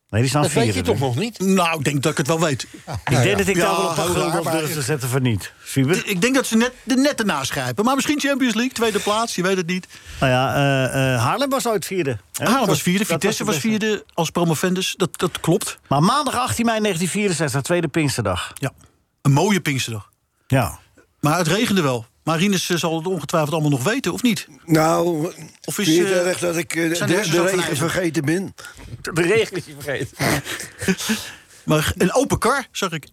Nee, die staan dat weet je vierde. toch nu. nog niet? Nou, ik denk dat ik het wel weet. Ik denk dat ik daar Ja, wel een heel paar gulden raar, op maar- durf te zetten van niet. Siebert? Ik denk dat ze net, de netten naschrijpen. Maar misschien Champions League, tweede plaats, je weet het niet. Nou ja, eh, eh, Haarlem was ooit vierde. hè? Haarlem was Dat- vierde, dat Vitesse de was beste. vierde als promovendus. Dat, dat klopt. Maar maandag 18 mei 1964, tweede Pinksterdag. Ja. Een mooie Pinksterdag. Ja. Maar het regende wel. Maar Rinus eh, zal het ongetwijfeld allemaal nog weten, of niet? Nou, Of vind is, je het eh, erg dat ik eh, de, zijn de hersens de al regen van ijzer? vergeten ben? De regen is je vergeten. Maar een open kar, zag ik.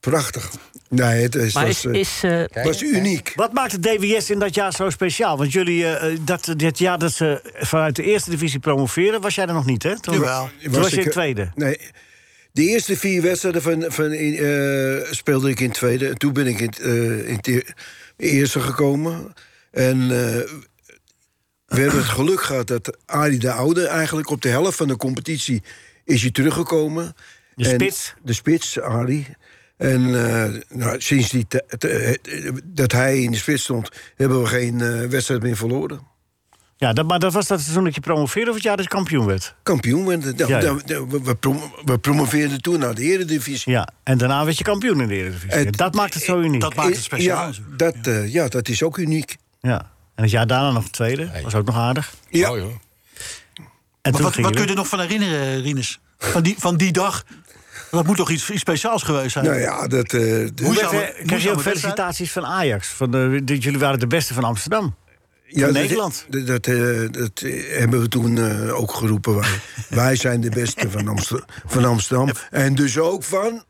Prachtig. Nee, het is, Maar is... was, eh, is eh, was uniek. Wat maakt het DWS in dat jaar zo speciaal? Want jullie, eh, eh, dat, dit jaar dat ze vanuit de eerste divisie promoveren, was jij er nog niet, hè? Toen, Jawel. toen was je ik, in eh, tweede. Nee. De eerste vier wedstrijden van, van, in, eh, speelde ik in tweede. En toen ben ik in, het, eh, in het eer- eerste gekomen. En eh, we hebben het geluk gehad dat Arie de Oude eigenlijk op de helft van de competitie is hij teruggekomen. De En- spits. De spits, Arie. En eh, nou, sinds die t- t- eh, dat hij in de spits stond, hebben we geen eh, wedstrijd meer verloren. Ja, dat, maar dat was dat seizoen dat je promoveerde of het jaar dat je kampioen werd? Kampioen werden. Nou, Ja, ja. nou, nou, we, we prom- we promoveerden toen naar de Eredivisie. Ja, en daarna werd je kampioen in de Eredivisie. Het- dat maakt het zo uniek. Dat maakt het speciaal. Ja, dat, eh, ja, dat is ook uniek. Ja. En het jaar daarna nog tweede, was ook nog aardig. Ja. Oh, joh. En Maar toen wat, ging wat je kun je weer- er nog van herinneren, Rinus? Van die, van die dag? Dat moet toch iets, iets speciaals geweest zijn? Nou ja, dat... eh, de- Hoe Werd, zou- eh, hoe Kreeg zou je het ook wedstrijd? felicitaties van Ajax? Van de, dat jullie waren de beste van Amsterdam. ja, dat- Nederland. Dat, dat, eh, dat, eh, hebben we toen eh, ook geroepen. Wij, wij zijn de beste van, Amster- van Amsterdam. En dus ook van...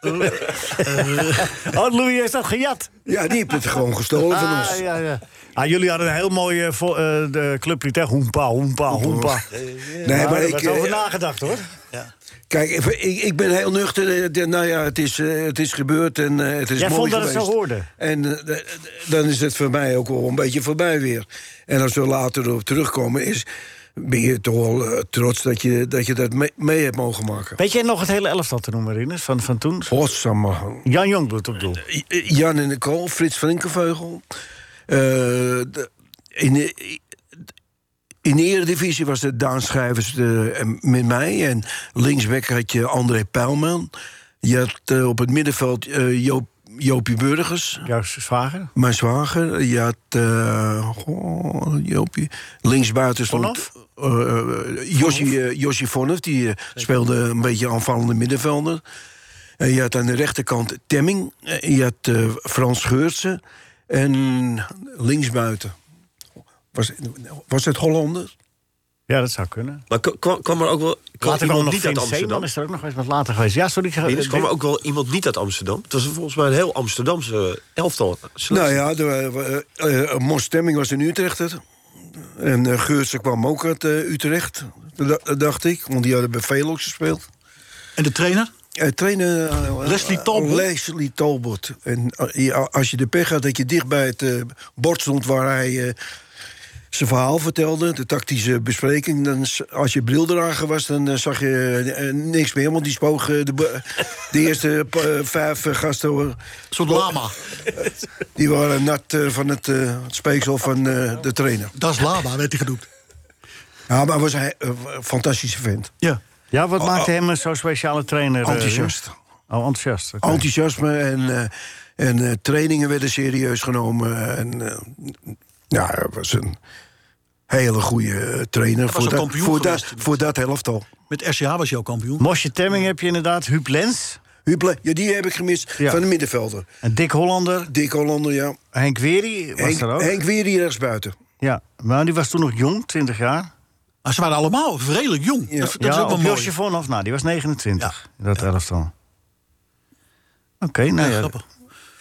Oh, Louis heeft dat gejat. Ja, die heeft het gewoon gestolen van Ah, ons. ja, ja. Ah, jullie hadden een heel mooie eh, vo- eh, de clublied, hè? Hoempa, hoempa, hoempa. Nee, maar Daar ik, werd over eh, nagedacht, hoor. kijk, ik, ik, ik ben heel nuchter. eh, de- Nou ja, het is, eh, het is gebeurd en eh, het is Jij mooi vond dat het geweest. zo hoorde. En eh, d- d- dan is het voor mij ook wel een beetje voorbij weer. En als we later erop terugkomen, is, ben je toch wel eh, trots dat je dat, je dat mee, mee hebt mogen maken. Weet jij nog het hele elftal te noemen, Rinus, van, van toen? Potsamme. Jan Jongbloed op doel. I- I- Eh, Jan en Nicole, Frits Flinkenveugel. Eh, de- in, de, in de Eredivisie was het Daan Schrijvers de- en met mij. En linksback had je André Pijlman. Je had eh, op het middenveld eh, Joop, Joopie Burgers. Jouw zwager? Mijn zwager, je had... eh, goh, Joopie. Linksbuiten stond... Vonhoff? eh Josje eh, Josje Vonhoff, die eh, speelde een beetje aanvallende middenvelder. En je had aan de rechterkant Temming. En je had eh, Frans Scheurtsen. En linksbuiten. Was, was het Hollander? Ja, dat zou kunnen. Maar k- kwam, kwam er ook wel kwam Later kwam iemand nog niet uit Vin Amsterdam? Zeeman, is er ook nog eens wat later geweest. Ja, sorry. Ik, Eh, ga- Nee, dus kwam er ook wel iemand niet uit Amsterdam? Het was volgens mij een heel Amsterdamse elftal. Nou selectie. ja, de, eh, eh, Mos Stemming was een Utrechter. En eh, Geurtsen kwam ook uit eh, Utrecht, da- dacht ik. Want die hadden bij Velox gespeeld. En de trainer? Eh, trainer eh, Leslie eh, Talbot? Leslie Talbot. En eh, ja, als je de pech had dat je dicht bij het eh, bord stond waar hij eh, zijn verhaal vertelde, de tactische bespreking, dan, s- als je bril dragen was, dan eh, zag je eh, niks meer. Want die spoog eh, de, bo- de eerste pa- eh, vijf eh, gasten, Een soort lama. die waren nat eh, van het, eh, het speeksel van eh, de trainer. Dat is lama, werd hij genoemd. Ja, maar was hij eh, een fantastische vent. Ja. Ja, Oh, wat maakte hem zo'n speciale trainer? eh, Enthousiast. Jim? oh, enthousiast. oké. enthousiasme en, eh, en eh, trainingen werden serieus genomen. En, eh, ja, hij was een hele goede eh, trainer was voor, een dat, kampioen voor, dat, geweest. voor dat helftal. Met RCA was je ook kampioen. Mosje Temming heb je inderdaad. Huub Lens. Huple, ja, die heb ik gemist Ja. van de middenvelder. Een dik Hollander. Dick Hollander, ja. Henk Wery was Henk, er ook. Henk Weeri rechtsbuiten. Ja, maar die was toen nog jong, 20 jaar. Maar ze waren allemaal redelijk jong. Ja. Dat, dat is ja, ook wel op mooi. Josje Vonhoff, nou, die was 29. Dat elftal. Oké, nou Ja, ja, grappig.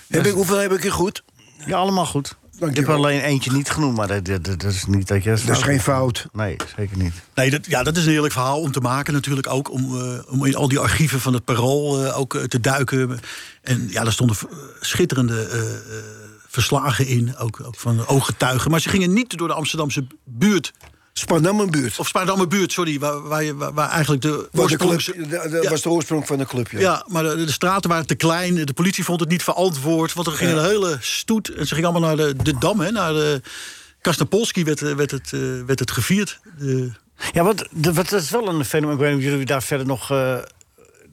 Heb ik, hoeveel heb ik er goed? ja, allemaal goed. Dank ik je heb wel. alleen eentje niet genoemd, maar dat, dat, dat is niet dat je... Dat Nou. is geen fout. Nee, zeker niet. Nee, dat, ja, dat is een heerlijk verhaal om te maken natuurlijk ook. Om, eh, om in al die archieven van het Parool eh, ook eh, te duiken. En ja, daar stonden v- schitterende eh, eh, verslagen in. Ook, ook van ooggetuigen. Maar ze gingen niet door de Amsterdamse buurt. Spanammenbuurt. Of Spaardamme buurt, sorry. Waar, waar, je- waar, waar eigenlijk de Was de club, oorsprongse- da- da- Ja. was de oorsprong van de club, ja. Ja, maar de, de straten waren te klein. De politie vond het niet verantwoord. Want er ging een hele stoet. En ze gingen allemaal naar de, de Dam, hè, naar de... Kastapolski werd, eh, werd, het, eh, werd het gevierd. De, Ja, want de- wat, dat is wel een fenomeen. Ik weet niet of jullie daar verder nog, eh,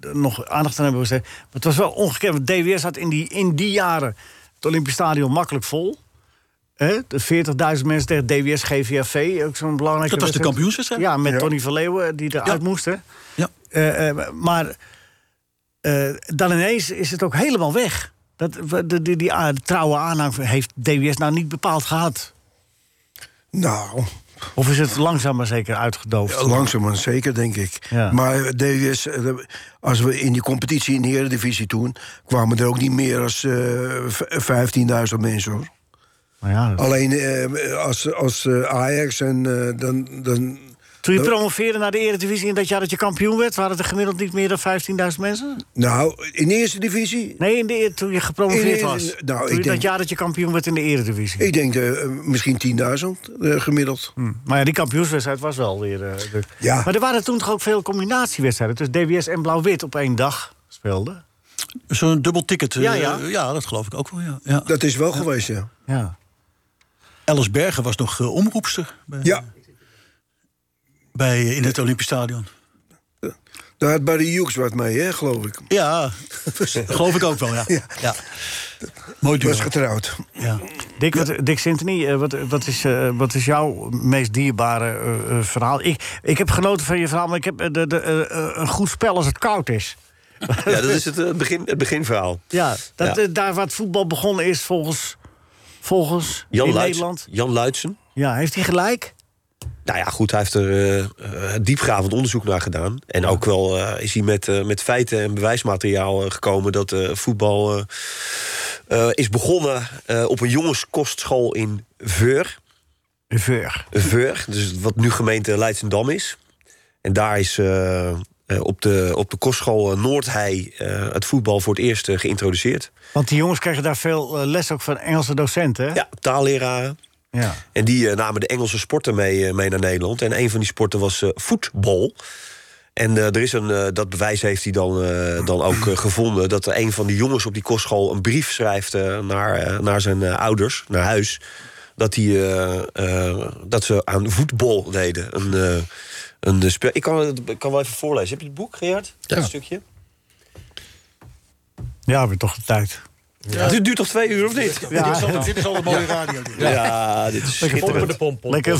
d- nog aandacht aan hebben besteed. Maar het was wel ongekend. Want DWS had in die, in die jaren het Olympisch Stadion makkelijk vol. Hè? De 40.000 mensen tegen DWS GVAV, ook zo'n belangrijke dat was de wedstrijd. kampioenswedstrijd. Ja, met Tony van Leeuwen die eruit Ja. moest. Hè? Ja. Eh, eh, maar eh, dan ineens is het ook helemaal weg. Dat, we- de, die, die a- trouwe aanhang heeft DWS nou niet bepaald gehad. Nou, Of is het langzaam maar zeker uitgedoofd? Langzaam maar zeker, denk ik. Ja. Maar DWS, eh, als we in die competitie in de Eredivisie toen... kwamen er ook niet meer als eh, v- 15.000 mensen, hoor. Maar ja, dat- Alleen eh, als, als eh, Ajax en eh, dan... dan Toen Eh. je promoveerde naar de Eredivisie in dat jaar dat je kampioen werd... waren het er gemiddeld niet meer dan 15.000 mensen? nou, in de Eerste Divisie... Nee, in de, eer- toen je gepromoveerd In- was. in- nou, Toen ik je dat denk- jaar dat je kampioen werd in de Eredivisie. Hm. Ik denk eh, misschien 10.000 eh, gemiddeld. Maar ja, die kampioenswedstrijd was wel weer... eh, de- Ja. Maar er waren toen toch ook veel combinatiewedstrijden... Dus tussen DWS en Blauw-Wit op één dag speelden? Zo'n dubbel ticket. eh, Ja, ja, ja. ja. dat geloof ik ook wel. Ja. Ja. Dat is wel geweest, ja. Ja. Alice Bergen was nog eh, omroepster bij, Ja, bij, eh, in het Olympisch Stadion. daar had Barry Hughes wat mee, hè, geloof ik. Ja, geloof ik ook wel. Ja. Ja. Mooi duo. Was getrouwd. Ja. Dick, wat, Dick Sintony, eh, wat, wat, is, eh, wat is jouw meest dierbare eh, eh, verhaal? Ik, ik heb genoten van je verhaal, maar ik heb eh, de, de, eh, eh, een goed spel als het koud is. Ja, dat is het, eh, begin, het beginverhaal. Ja, dat, Ja. eh, daar waar het voetbal begonnen is volgens, volgens Jan, in Luits- Nederland. Jan Luitsen. Ja, heeft hij gelijk? Nou ja, goed, hij heeft er eh, eh, diepgravend onderzoek naar gedaan. En ook wel eh, is hij met, eh, met feiten en bewijsmateriaal eh, gekomen dat eh, voetbal eh, eh, is begonnen eh, op een jongenskostschool in Veur. Ver. Veur, dus wat nu gemeente Leidsendam is. En daar is eh, eh, op, de, op de kostschool eh, Noordhei eh, het voetbal voor het eerst eh, geïntroduceerd. Want die jongens krijgen daar veel eh, les ook van Engelse docenten, hè? Ja, taalleraren. Ja. En die eh, namen de Engelse sporten mee, eh, mee naar Nederland. En een van die sporten was eh, voetbal. En eh, er is een, eh, dat bewijs heeft hij dan, eh, dan ook eh, gevonden... dat er een van die jongens op die kostschool een brief schrijft... eh, naar, eh, naar zijn eh, ouders, naar huis... Dat, die, eh, eh, dat ze aan voetbal deden. Een, eh, een eh, spel. Ik kan, het- ik kan wel even voorlezen. Heb je het boek, Gerard? Dat stukje? Ja, we toch de tijd. Dit duurt toch twee uur, of niet? Ja. Dit is al een mooie radio. Ja, dit is schitterend. Lekker.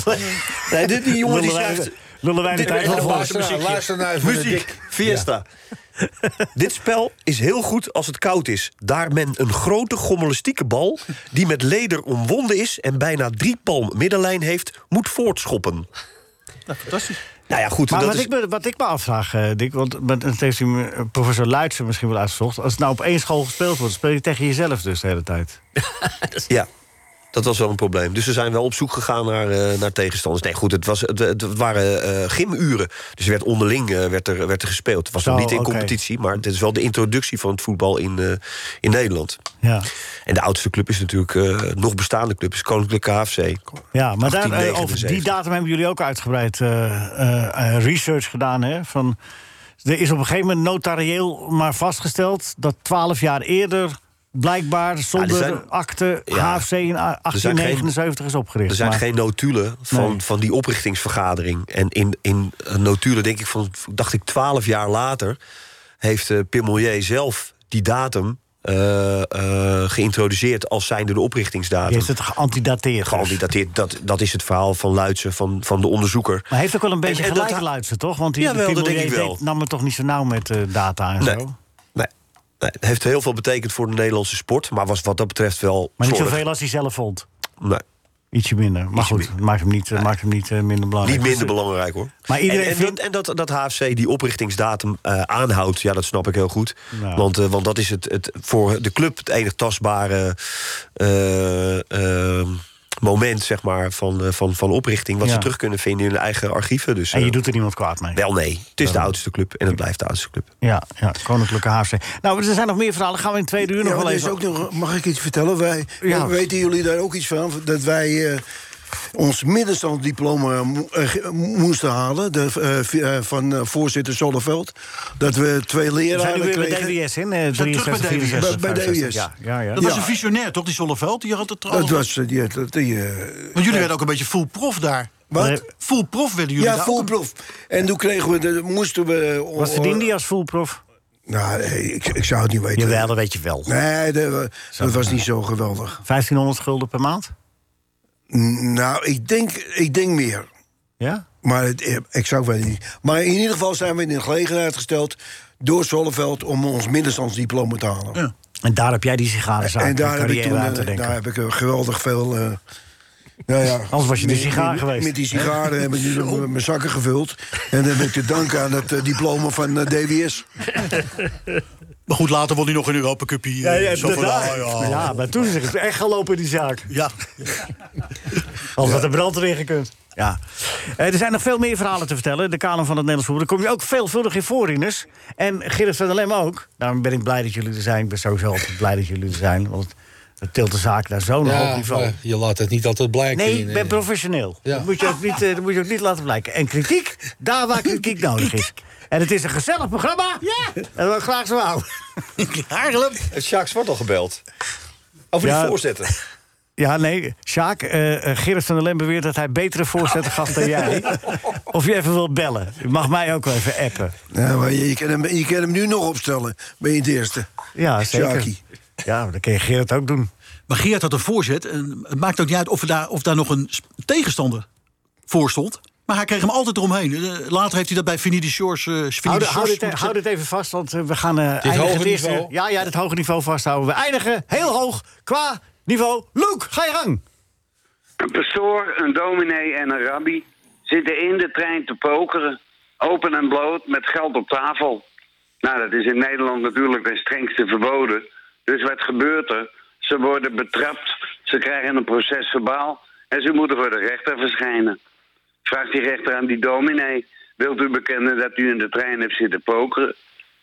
Nee, dit- die jongen die Lullen wij- schrijft... Lullen wij de Dit- tijd wel voor? Luister, naar- luister nou naar even naar Dick. Muziek, fiesta. Dit spel is heel goed als het koud is. Daar men een grote gommelistieke bal... die met leder omwonden is en bijna drie palm middenlijn heeft... moet voortschoppen. Nou, fantastisch. Nou ja, goed. Maar dat wat, is... ik me, wat ik me afvraag, eh, Dick, want want dat heeft u, me- eh, professor Luitsen misschien wel uitgezocht. Als het nou op één school gespeeld wordt, speel je tegen jezelf dus de hele tijd. Ja. Dat was wel een probleem. Dus ze zijn wel op zoek gegaan naar, eh, naar tegenstanders. Nee, goed, het, was, het, het waren eh, gymuren. Dus er werd onderling eh, werd er, werd er gespeeld. Het was nog Zo, niet in oké. competitie, maar dit is wel de introductie van het voetbal in, eh, in Nederland. Ja, En de oudste club is natuurlijk, eh, nog bestaande club, is Koninklijke KFC. ja maar daar, eh, 1879. over die datum hebben jullie ook uitgebreid eh, eh, research gedaan. Hè? Van, er is op een gegeven moment notarieel maar vastgesteld dat twaalf jaar eerder. Blijkbaar zonder zijn- akte Ja. HFC in a- Er zijn geen- 1879 is opgericht. Er zijn maar- geen notulen van, Nee. van die oprichtingsvergadering. En in, in eh, notulen, denk ik, van, dacht ik, twaalf jaar later... heeft eh Pim Mollier zelf die datum eh, eh, geïntroduceerd... als zijnde de Je oprichtingsdatum. heeft het geantidateerd. Gewoon dus. die dateert, dat, dat heeft het verhaal van Luitsen, van, van de onderzoeker. Maar heeft ook wel een beetje en dat gelijk ha- luisteren, toch? Want die Jawel, die dat denk Pimelier ik wel. deed- nam het toch niet zo nauw met eh, data en Nee. zo? Nee, nee, het heeft heel veel betekend voor de Nederlandse sport... maar was wat dat betreft wel Maar niet slordig. zoveel als hij zelf vond. Nee, Ietsje minder. Maar goed, maakt hem niet, eh, maakt hem niet eh, minder belangrijk. niet minder Dus, belangrijk, hoor. Maar iedereen en, en, vindt- dat, en dat, dat HFC die oprichtingsdatum eh, aanhoudt, ja, dat snap ik heel goed. Nou. Want, eh, want dat is het, het, voor de club het enig tastbare eh, eh, moment zeg maar, van, eh, van, van oprichting... wat Ja. ze terug kunnen vinden in hun eigen archieven. Dus, En je eh, doet er niemand kwaad mee. Wel nee, het is de oudste club en het blijft de oudste club. Ja, ja, Koninklijke HFC. Nou, er zijn nog meer verhalen. Gaan we in twee uur nog Ja, wel maar er is even... ook nog, mag ik iets vertellen? Wij, Ja. Weten jullie daar ook iets van? Dat wij eh, ons middenstandsdiploma mo- eh, ge- moesten halen de, eh, vi- eh, van eh, voorzitter Zonneveld. Dat we twee We zijn nu leraren weer bij kregen. DWS in, eh, terug bij DWS. 63, 64, Bij- bij 65. DWS. Ja, ja, ja. Dat was Ja. een visionair, toch? Die Zonneveld, die had het er dat al- was eh, die, dat- die, eh, Want jullie werden ook een beetje full prof daar. Wat? Full prof werden jullie ja, daar ook. volproef. En toen kregen we, de, moesten we... o- Wat verdiende hij als voelprof? Nou, nee, ik, ik zou het niet weten. Jawel, dat weet je wel. Nee, dat, dat was niet zo geweldig. 1500 gulden per maand? N- Nou, ik denk, ik denk meer. Ja? Maar het, ik zou het niet. Maar in ieder geval zijn we in de gelegenheid gesteld door Zonneveld om ons middenstandsdiploma te halen. En daar heb jij die sigarenzaak en daar heb, ik carrière toen, aan te eh, denken. daar heb ik eh, geweldig veel. eh, nou ja, Anders was je de met- sigaar met- geweest. Met die sigaren heb ik dus m- mijn zakken gevuld. En dan heb ik te danken aan het eh, diploma van eh, DWS. Maar goed, later won hij nog in Europa Cupie. eh, zo van, oh, ah, ja. Ja, maar toen is het echt gelopen in die zaak. Ja. Als had de brand erin gekund. Ja. Eh, er zijn nog veel meer verhalen te vertellen. De kanon van het Nederlands voetbal. Daar kom je ook veelvuldig in voor, Rinus. En Gerrit van der Lem ook. Daarom ben ik blij dat jullie er zijn. Ik ben sowieso altijd blij dat jullie er zijn. Want het tilt de zaak naar zo'n hoog Ja, niveau. maar je laat het niet altijd blijken. Nee, in, ik eh, ben professioneel. Ja. Dat, moet je ook niet, eh, dat moet je ook niet laten blijken. En kritiek, daar waar kritiek nodig is. En het is een gezellig programma. Ja. En dat wil ik graag zo houden. Heeft Sjaak Zwart al gebeld? Over Ja. die voorzetten. Ja, nee, Sjaak, eh eh, Gerrit van der Lem beweert dat hij betere voorzetten gaf dan jij. Of je even wilt bellen. Je mag mij ook wel even appen. Nou, maar je, je, kan hem, je kan hem nu nog opstellen. Ben je het eerste. Ja, zeker. Sjaakie. Ja, maar dan kun je Gerrit ook doen. Maar Geert had een voorzet. En het maakt ook niet uit of, er daar, of daar nog een sp- tegenstander voor stond. Maar hij kreeg hem altijd eromheen. Eh, Later heeft hij dat bij Finidi Shores. eh, Finidi Hou, Shores hou dit, e- moeten- hou dit even vast, want eh, we gaan eh eindigen. hoge het eerste- niveau. Ja, ja, dit hoge niveau vasthouden. We eindigen heel hoog qua niveau. Luke, ga je gang. Een pastoor, een dominee en een rabbi zitten in de trein te pokeren. Open en bloot met geld op tafel. Nou, dat is in Nederland natuurlijk de strengste verboden. Dus wat gebeurt er? Ze worden betrapt, ze krijgen een proces verbaal en ze moeten voor de rechter verschijnen. Vraagt die rechter aan die dominee: Wilt u bekennen dat u in de trein hebt zitten pokeren?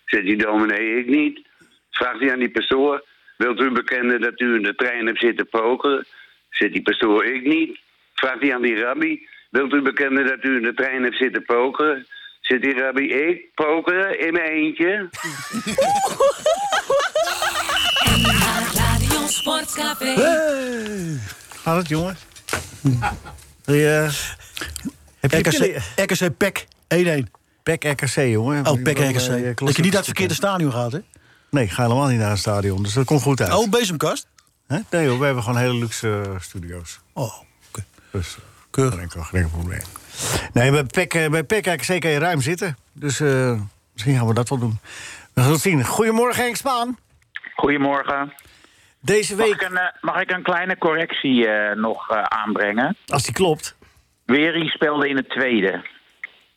Zegt die dominee: Ik niet. Vraagt hij aan die pastoor: Wilt u bekennen dat u in de trein hebt zitten pokeren? Zegt die pastoor: Ik niet. Vraagt hij aan die rabbi: Wilt u bekennen dat u in de trein hebt zitten pokeren? Zegt die rabbi: Ik pokeren in mijn eentje. Radio Sportcafé. Eh, Gaat het, jongen? Wil je- Heb je RKC, RKC PEC 1-1. Pek RKC, jongen. Oh, PEC RKC. Eh, Dat je niet naar het verkeerde stadion gaat, hè? Nee, ik ga helemaal niet naar het stadion, dus dat komt goed uit. Oh, bezemkast. Hè? Nee hoor, we hebben gewoon hele luxe eh, studio's. Oh, oké. Dus Keurig. geen enkel, geen enkel probleem. Nee, bij PEC, eh, bij PEC eigenlijk zeker je ruim zitten. Dus eh, misschien gaan we dat wel doen. We gaan het zien. Goedemorgen Henk Spaan. Goedemorgen. Deze Mag ik week, een, eh, mag ik een kleine correctie eh, nog eh, aanbrengen? als die klopt. Wering speelde in het tweede.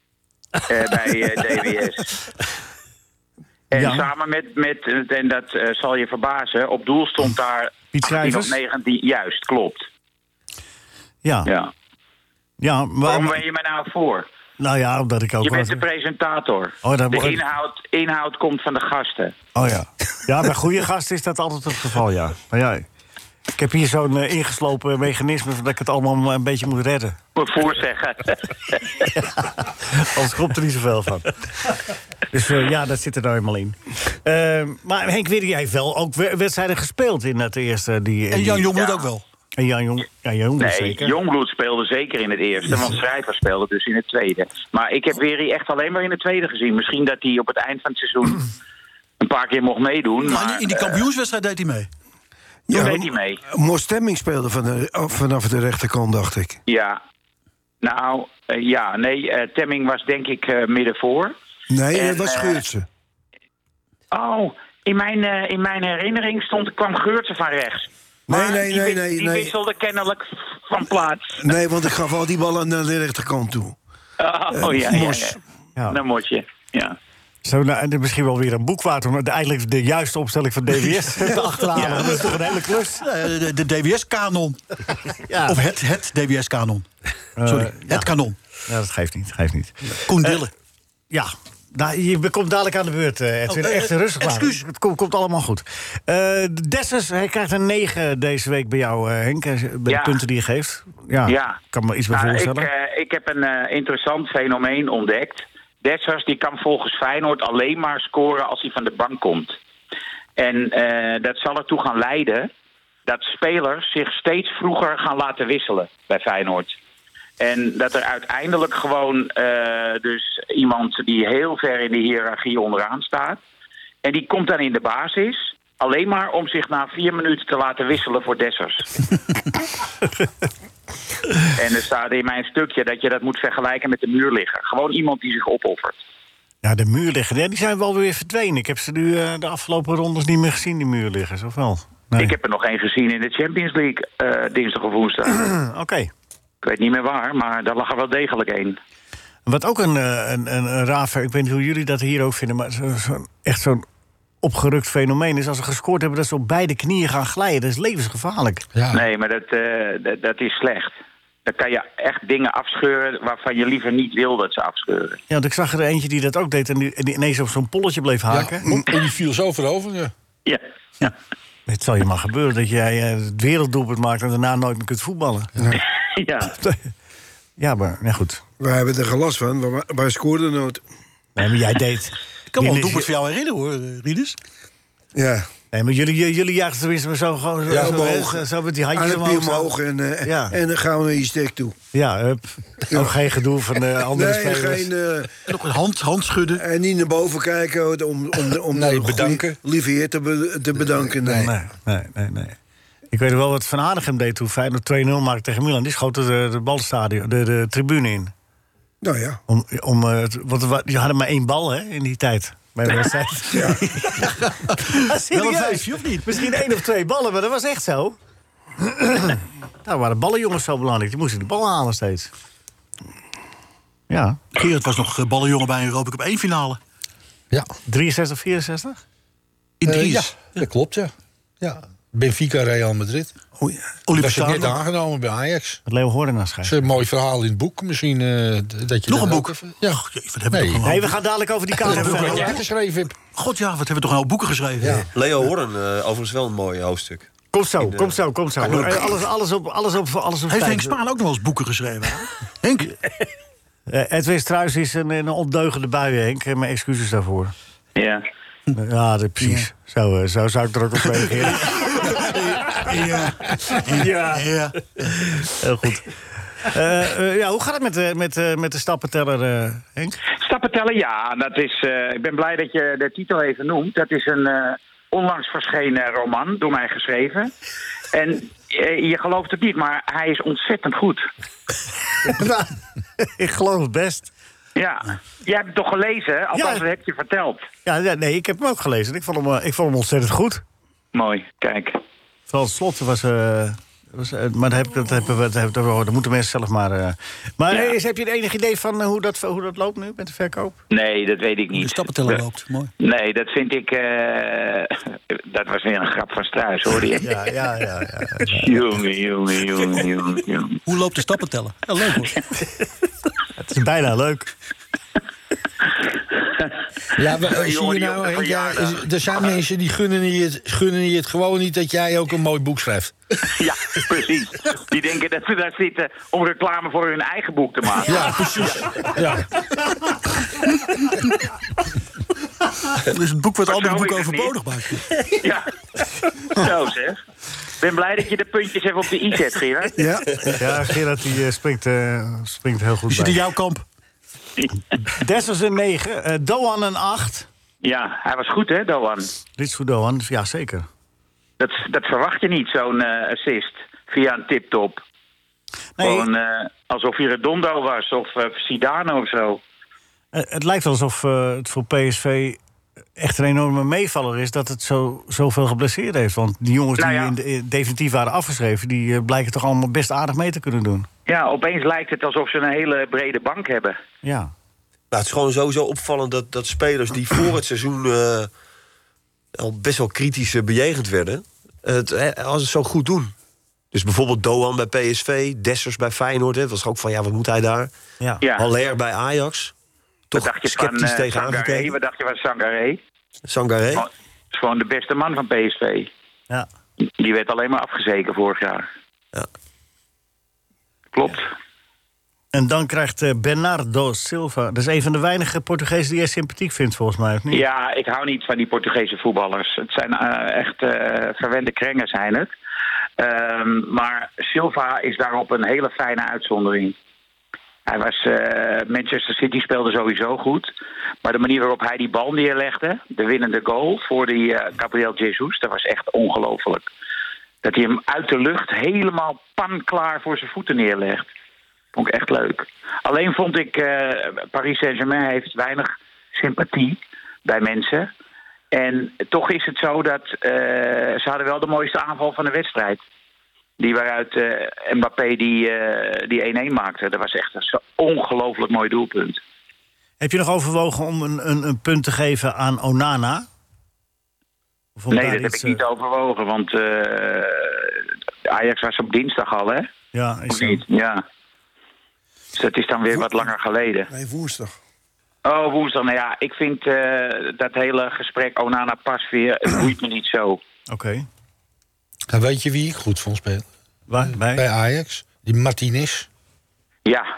eh, bij eh, DWS. En Ja. samen met, met, en dat eh, zal je verbazen, op doel stond daar... Piet 18 of Schrijvers? 19, juist, klopt. Ja. Ja. Ja, Waarom maar, ben je me nou voor? nou ja, omdat ik ook... Je bent wel- de presentator. Oh, dat de wordt- inhoud, inhoud komt van de gasten. Oh ja. Ja, bij goede gasten is dat altijd het geval, ja. Maar ja, ik heb hier zo'n eh, ingeslopen mechanisme... dat ik het allemaal maar een beetje moet redden. Moet voorzeggen. Anders komt er niet zoveel van. Dus eh, ja, dat zit er nou helemaal in. Eh, maar Henk Widder, jij heeft wel ook we- wedstrijden gespeeld in het eerste. Die, En Jan Jong moet moet Ja. ook wel. En Jan Jong, ja, Jan Jong dus Nee, zeker. Jongbloed speelde zeker in het eerste, want Schrijver speelde dus in het tweede. Maar ik heb Wery echt alleen maar in het tweede gezien. Misschien dat hij op het eind van het seizoen een paar keer mocht meedoen. Maar, Maar in die eh, kampioenswedstrijd deed hij mee. toen deed hij mee. Moest Stemming speelde van de- vanaf de rechterkant, dacht ik. Ja. Nou, eh, ja, nee, eh, Temming was denk ik eh, midden voor. Nee, En, dat was eh, Geurtsen. Oh, in mijn, eh, in mijn herinnering stond, kwam Geurtsen van rechts. Nee, Maar nee, die nee, wis- nee, Die nee. wisselde kennelijk van plaats. Nee, want ik gaf al die ballen naar de rechterkant toe. Oh, Eh, ja, ja, ja. Mos. Ja. Dan moet je, ja. Zo, nou, en er misschien wel weer een boek waard om de- eindelijk de juiste opstelling van DWS te achterhalen. Dat is toch een hele klus? Eh, De, de DWS-kanon. Ja. Of het, het DWS-kanon. Sorry, Eh, het kanon. Ja, Eh, dat geeft niet, geeft niet. Koen Dillen. Ja, nou, je komt dadelijk aan de beurt, eh, Edwin. Oh, eh, Echt rustig maar. excuus. Het komt, komt allemaal goed. Eh Dessers, hij krijgt een 9 deze week bij jou, eh, Henk. eh, Bij Ja. de punten die je geeft. Ja, Ja. kan me iets bij Nou, ik, voorstellen. eh, ik heb een eh, interessant fenomeen ontdekt. Dessers die kan volgens Feyenoord alleen maar scoren als hij van de bank komt. En eh, dat zal ertoe gaan leiden dat spelers zich steeds vroeger gaan laten wisselen bij Feyenoord. En dat er uiteindelijk gewoon eh, dus iemand die heel ver in de hiërarchie onderaan staat. En die komt dan in de basis. Alleen maar om zich na vier minuten te laten wisselen voor Dessers. En er staat in mijn stukje dat je dat moet vergelijken met de muurligger. Gewoon iemand die zich opoffert. Ja, de muurliggers, ja, die zijn wel weer verdwenen. Ik heb ze nu eh, de afgelopen rondes niet meer gezien, die muurliggers, of wel? Ik heb er nog één gezien in de Champions League eh, dinsdag of woensdag. Hm, Oké. Ik weet niet meer waar, maar daar lag er wel degelijk één. Wat ook een, eh, een, een, een raar, fe- ik weet niet hoe jullie dat hier ook vinden... maar zo, zo- echt zo'n opgerukt fenomeen is... als ze gescoord hebben dat ze op beide knieën gaan glijden. Dat is levensgevaarlijk. Nee, maar dat, eh, dat, dat is slecht. Dan kan je echt dingen afscheuren waarvan je liever niet wil dat ze afscheuren. Ja, want ik zag er eentje die dat ook deed... en die, en die ineens op zo'n polletje bleef haken. En die viel zo voorover, ja. Ja. Het zal je maar gebeuren dat jij eh, het werelddoelpunt maakt... en daarna nooit meer kunt voetballen. Ja. Ja, maar ja, goed. Wij hebben er geen last van, maar wij scoorden nooit. Nee, maar jij deed... Oh, Ik kan me wel een Jullie- doelpunt voor jou herinneren hoor, eh, Rieders. Ja. Nee, maar jullie, jullie, jullie jagen tenminste maar zo gewoon... zo- Ja, zo, omhoog. zo- zo met die handjes Armpje omhoog. zo. omhoog en, eh, Ja. en dan gaan we naar je stek toe. Ja, hup. Ook geen gedoe van eh, andere nee, spelers. geen... eh, En ook een hand, hand schudden. en niet naar boven kijken om, om, om Nee, de goeie- bedanken. lieve heer te, be- te bedanken. Nee. Nee, nee, nee, nee. Ik weet wel wat Van Aardigem deed toen Feyenoord 2-0 maakte tegen Milan. Die schoten de, de balstadion, de, de tribune in. Nou ja. Om, om, eh, het- want er wa- die hadden maar één bal hè, in die tijd. Bij de wedstrijd. Ja. Wel een serieus. vijfje, of niet? Misschien één of twee ballen, maar dat was echt zo. Daar waren ballenjongens zo belangrijk. Die moesten de bal halen steeds. Ja. Gerard was nog eh, ballenjongen bij een Europa Cup 1 finale. Ja, 63, 64? In Eh, Dries. ja dat klopt, ja. ja. Benfica, Real Madrid. Oh, ja. Dat is Olympische net Kamer. aangenomen bij Ajax. Wat Leo Hoorn aan Dat is schrijft. een mooi verhaal in het boek. Misschien eh, d- dat je Nog dat een ook boek? even- Ja. Och, jee, wat hebben Oh, we Nee. toch een Nee, hoop... we gaan dadelijk over die kaart Dat boek hebben. wat jij geschreven hebt. God ja, wat hebben we toch een hoop boeken geschreven. Leo Horn, eh, overigens wel een mooi hoofdstuk. Kom zo, kom zo, kom zo. Eh, Alles, alles op, alles op, alles op Heeft tijd. Henk Spaan ook nog wel eens boeken geschreven? Henk? Eh, Edwin Struis is een, een ondeugende bui, Henk. Eh, Mijn excuses daarvoor. Ja. Eh, Ja, dat, precies. Zo, eh, zo zou ik er ook op reageren. Ja. Ja. ja. Heel goed. Eh, eh, ja, hoe gaat het met, de- met, eh, met de stappenteller, eh, Henk? Stappen tellen, ja. Dat is, eh, ik ben blij dat je de titel even noemt. Dat is een eh, onlangs verschenen roman, door mij geschreven. En eh, je gelooft het niet, maar hij is ontzettend goed. Nou, ik geloof het best. Ja. Jij hebt het toch gelezen? Althans, Ja. dat heb je verteld. Ja, ja, nee, ik heb hem ook gelezen. Ik vond hem, eh, ik vond hem ontzettend goed. Mooi, kijk. Vooral het slot was... eh, Dat was, eh, Maar dat, heb, ik- dat, hebben we- dat, hebben we- dat moeten mensen zelf maar... eh. Maar eh, is, heb je enig idee van eh, hoe, dat, hoe dat loopt nu met de verkoop? Nee, dat weet ik niet. De stappenteller loopt, mooi. Nee, dat vind ik... eh, dat was weer een grap van Struis, hoor je? Ja, ja, ja. ja. jongen, jongen, jongen, jongen, jongen. Hoe loopt de stappenteller? Ja, leuk hoor. Het is bijna leuk. Ja, maar, eh, zie Jongen, je jongen, nou, ja, verjaardag. eh, is- er zijn mensen die gunnen je, het, gunnen je het gewoon niet dat jij ook een mooi boek schrijft. Ja, precies. Die denken dat ze daar zitten om reclame voor hun eigen boek te maken. Ja, precies. Ja. Dat is het boek wat Maar andere zo boeken is het overbodig maakt. Ja. Zo zeg. Ik ben blij dat je de puntjes even op de i zet, Gerard. Ja, ja Gerard die, eh, springt, eh, springt heel goed Die zit in bij. jouw kamp. Des was een 9, eh Doan een 8. Ja, hij was goed hè, Doan. Dit is voor Doan, ja zeker. Dat, dat verwacht je niet, zo'n eh, assist. Via een tiptop. Nee, Gewoon eh, alsof hij Redondo was of eh, Sidano of zo. eh, het lijkt wel alsof eh, het voor PSV echt een enorme meevaller is... dat het zo, zoveel geblesseerd heeft. Want die jongens Nou die ja. in de, in- definitief waren afgeschreven... die eh, blijken toch allemaal best aardig mee te kunnen doen. Ja, opeens lijkt het alsof ze een hele brede bank hebben. Ja. Nou, het is gewoon sowieso opvallend dat, dat spelers die voor het seizoen eh, al best wel kritisch eh, bejegend werden, het, eh, als het zo goed doen. Dus bijvoorbeeld Doan bij PSV, Dessers bij Feyenoord. Hè, was ook van, ja, wat moet hij daar? Ja. Ja. Haller bij Ajax. Wat Toch sceptisch eh, tegen Sangaré? aangekeken. Wat dacht je van Sangaré? Sangaré. Gewoon- is Gewoon de beste man van PSV. Ja. Die werd alleen maar afgezeken vorig jaar. Ja. Klopt. En dan krijgt eh, Bernardo Silva... dat is een van de weinige Portugezen die jij sympathiek vindt, volgens mij. Of niet? Ja, ik hou niet van die Portugese voetballers. Het zijn eh, echt eh, verwende krengen, zijn het. Ehm, maar Silva is daarop een hele fijne uitzondering. Hij was, eh, Manchester City speelde sowieso goed. Maar de manier waarop hij die bal neerlegde, de winnende goal voor die eh Gabriel Jesus, dat was echt ongelooflijk. Dat hij hem uit de lucht helemaal panklaar voor zijn voeten neerlegt. Vond ik echt leuk. Alleen vond ik, eh, Paris Saint-Germain heeft weinig sympathie bij mensen. En toch is het zo dat eh, ze hadden wel de mooiste aanval van de wedstrijd. Die waaruit eh, Mbappé die, eh, die 1-1 maakte. Dat was echt een zo- ongelooflijk mooi doelpunt. Heb je nog overwogen om een, een, een punt te geven aan Onana? Of om Nee, daar dat heb iets, ik niet eh, overwogen, want eh, Ajax was op dinsdag al, hè? Ja, is Of zo. niet? Ja. Dus dat is dan weer wat langer geleden. Nee, woensdag. Oh, woensdag. Nou ja, ik vind eh, dat hele gesprek Onana pas weer. Het boeit me niet zo. Oké. En weet je wie ik goed vond spelen? Waar? Bij? Bij Ajax. Die Martinez. Ja.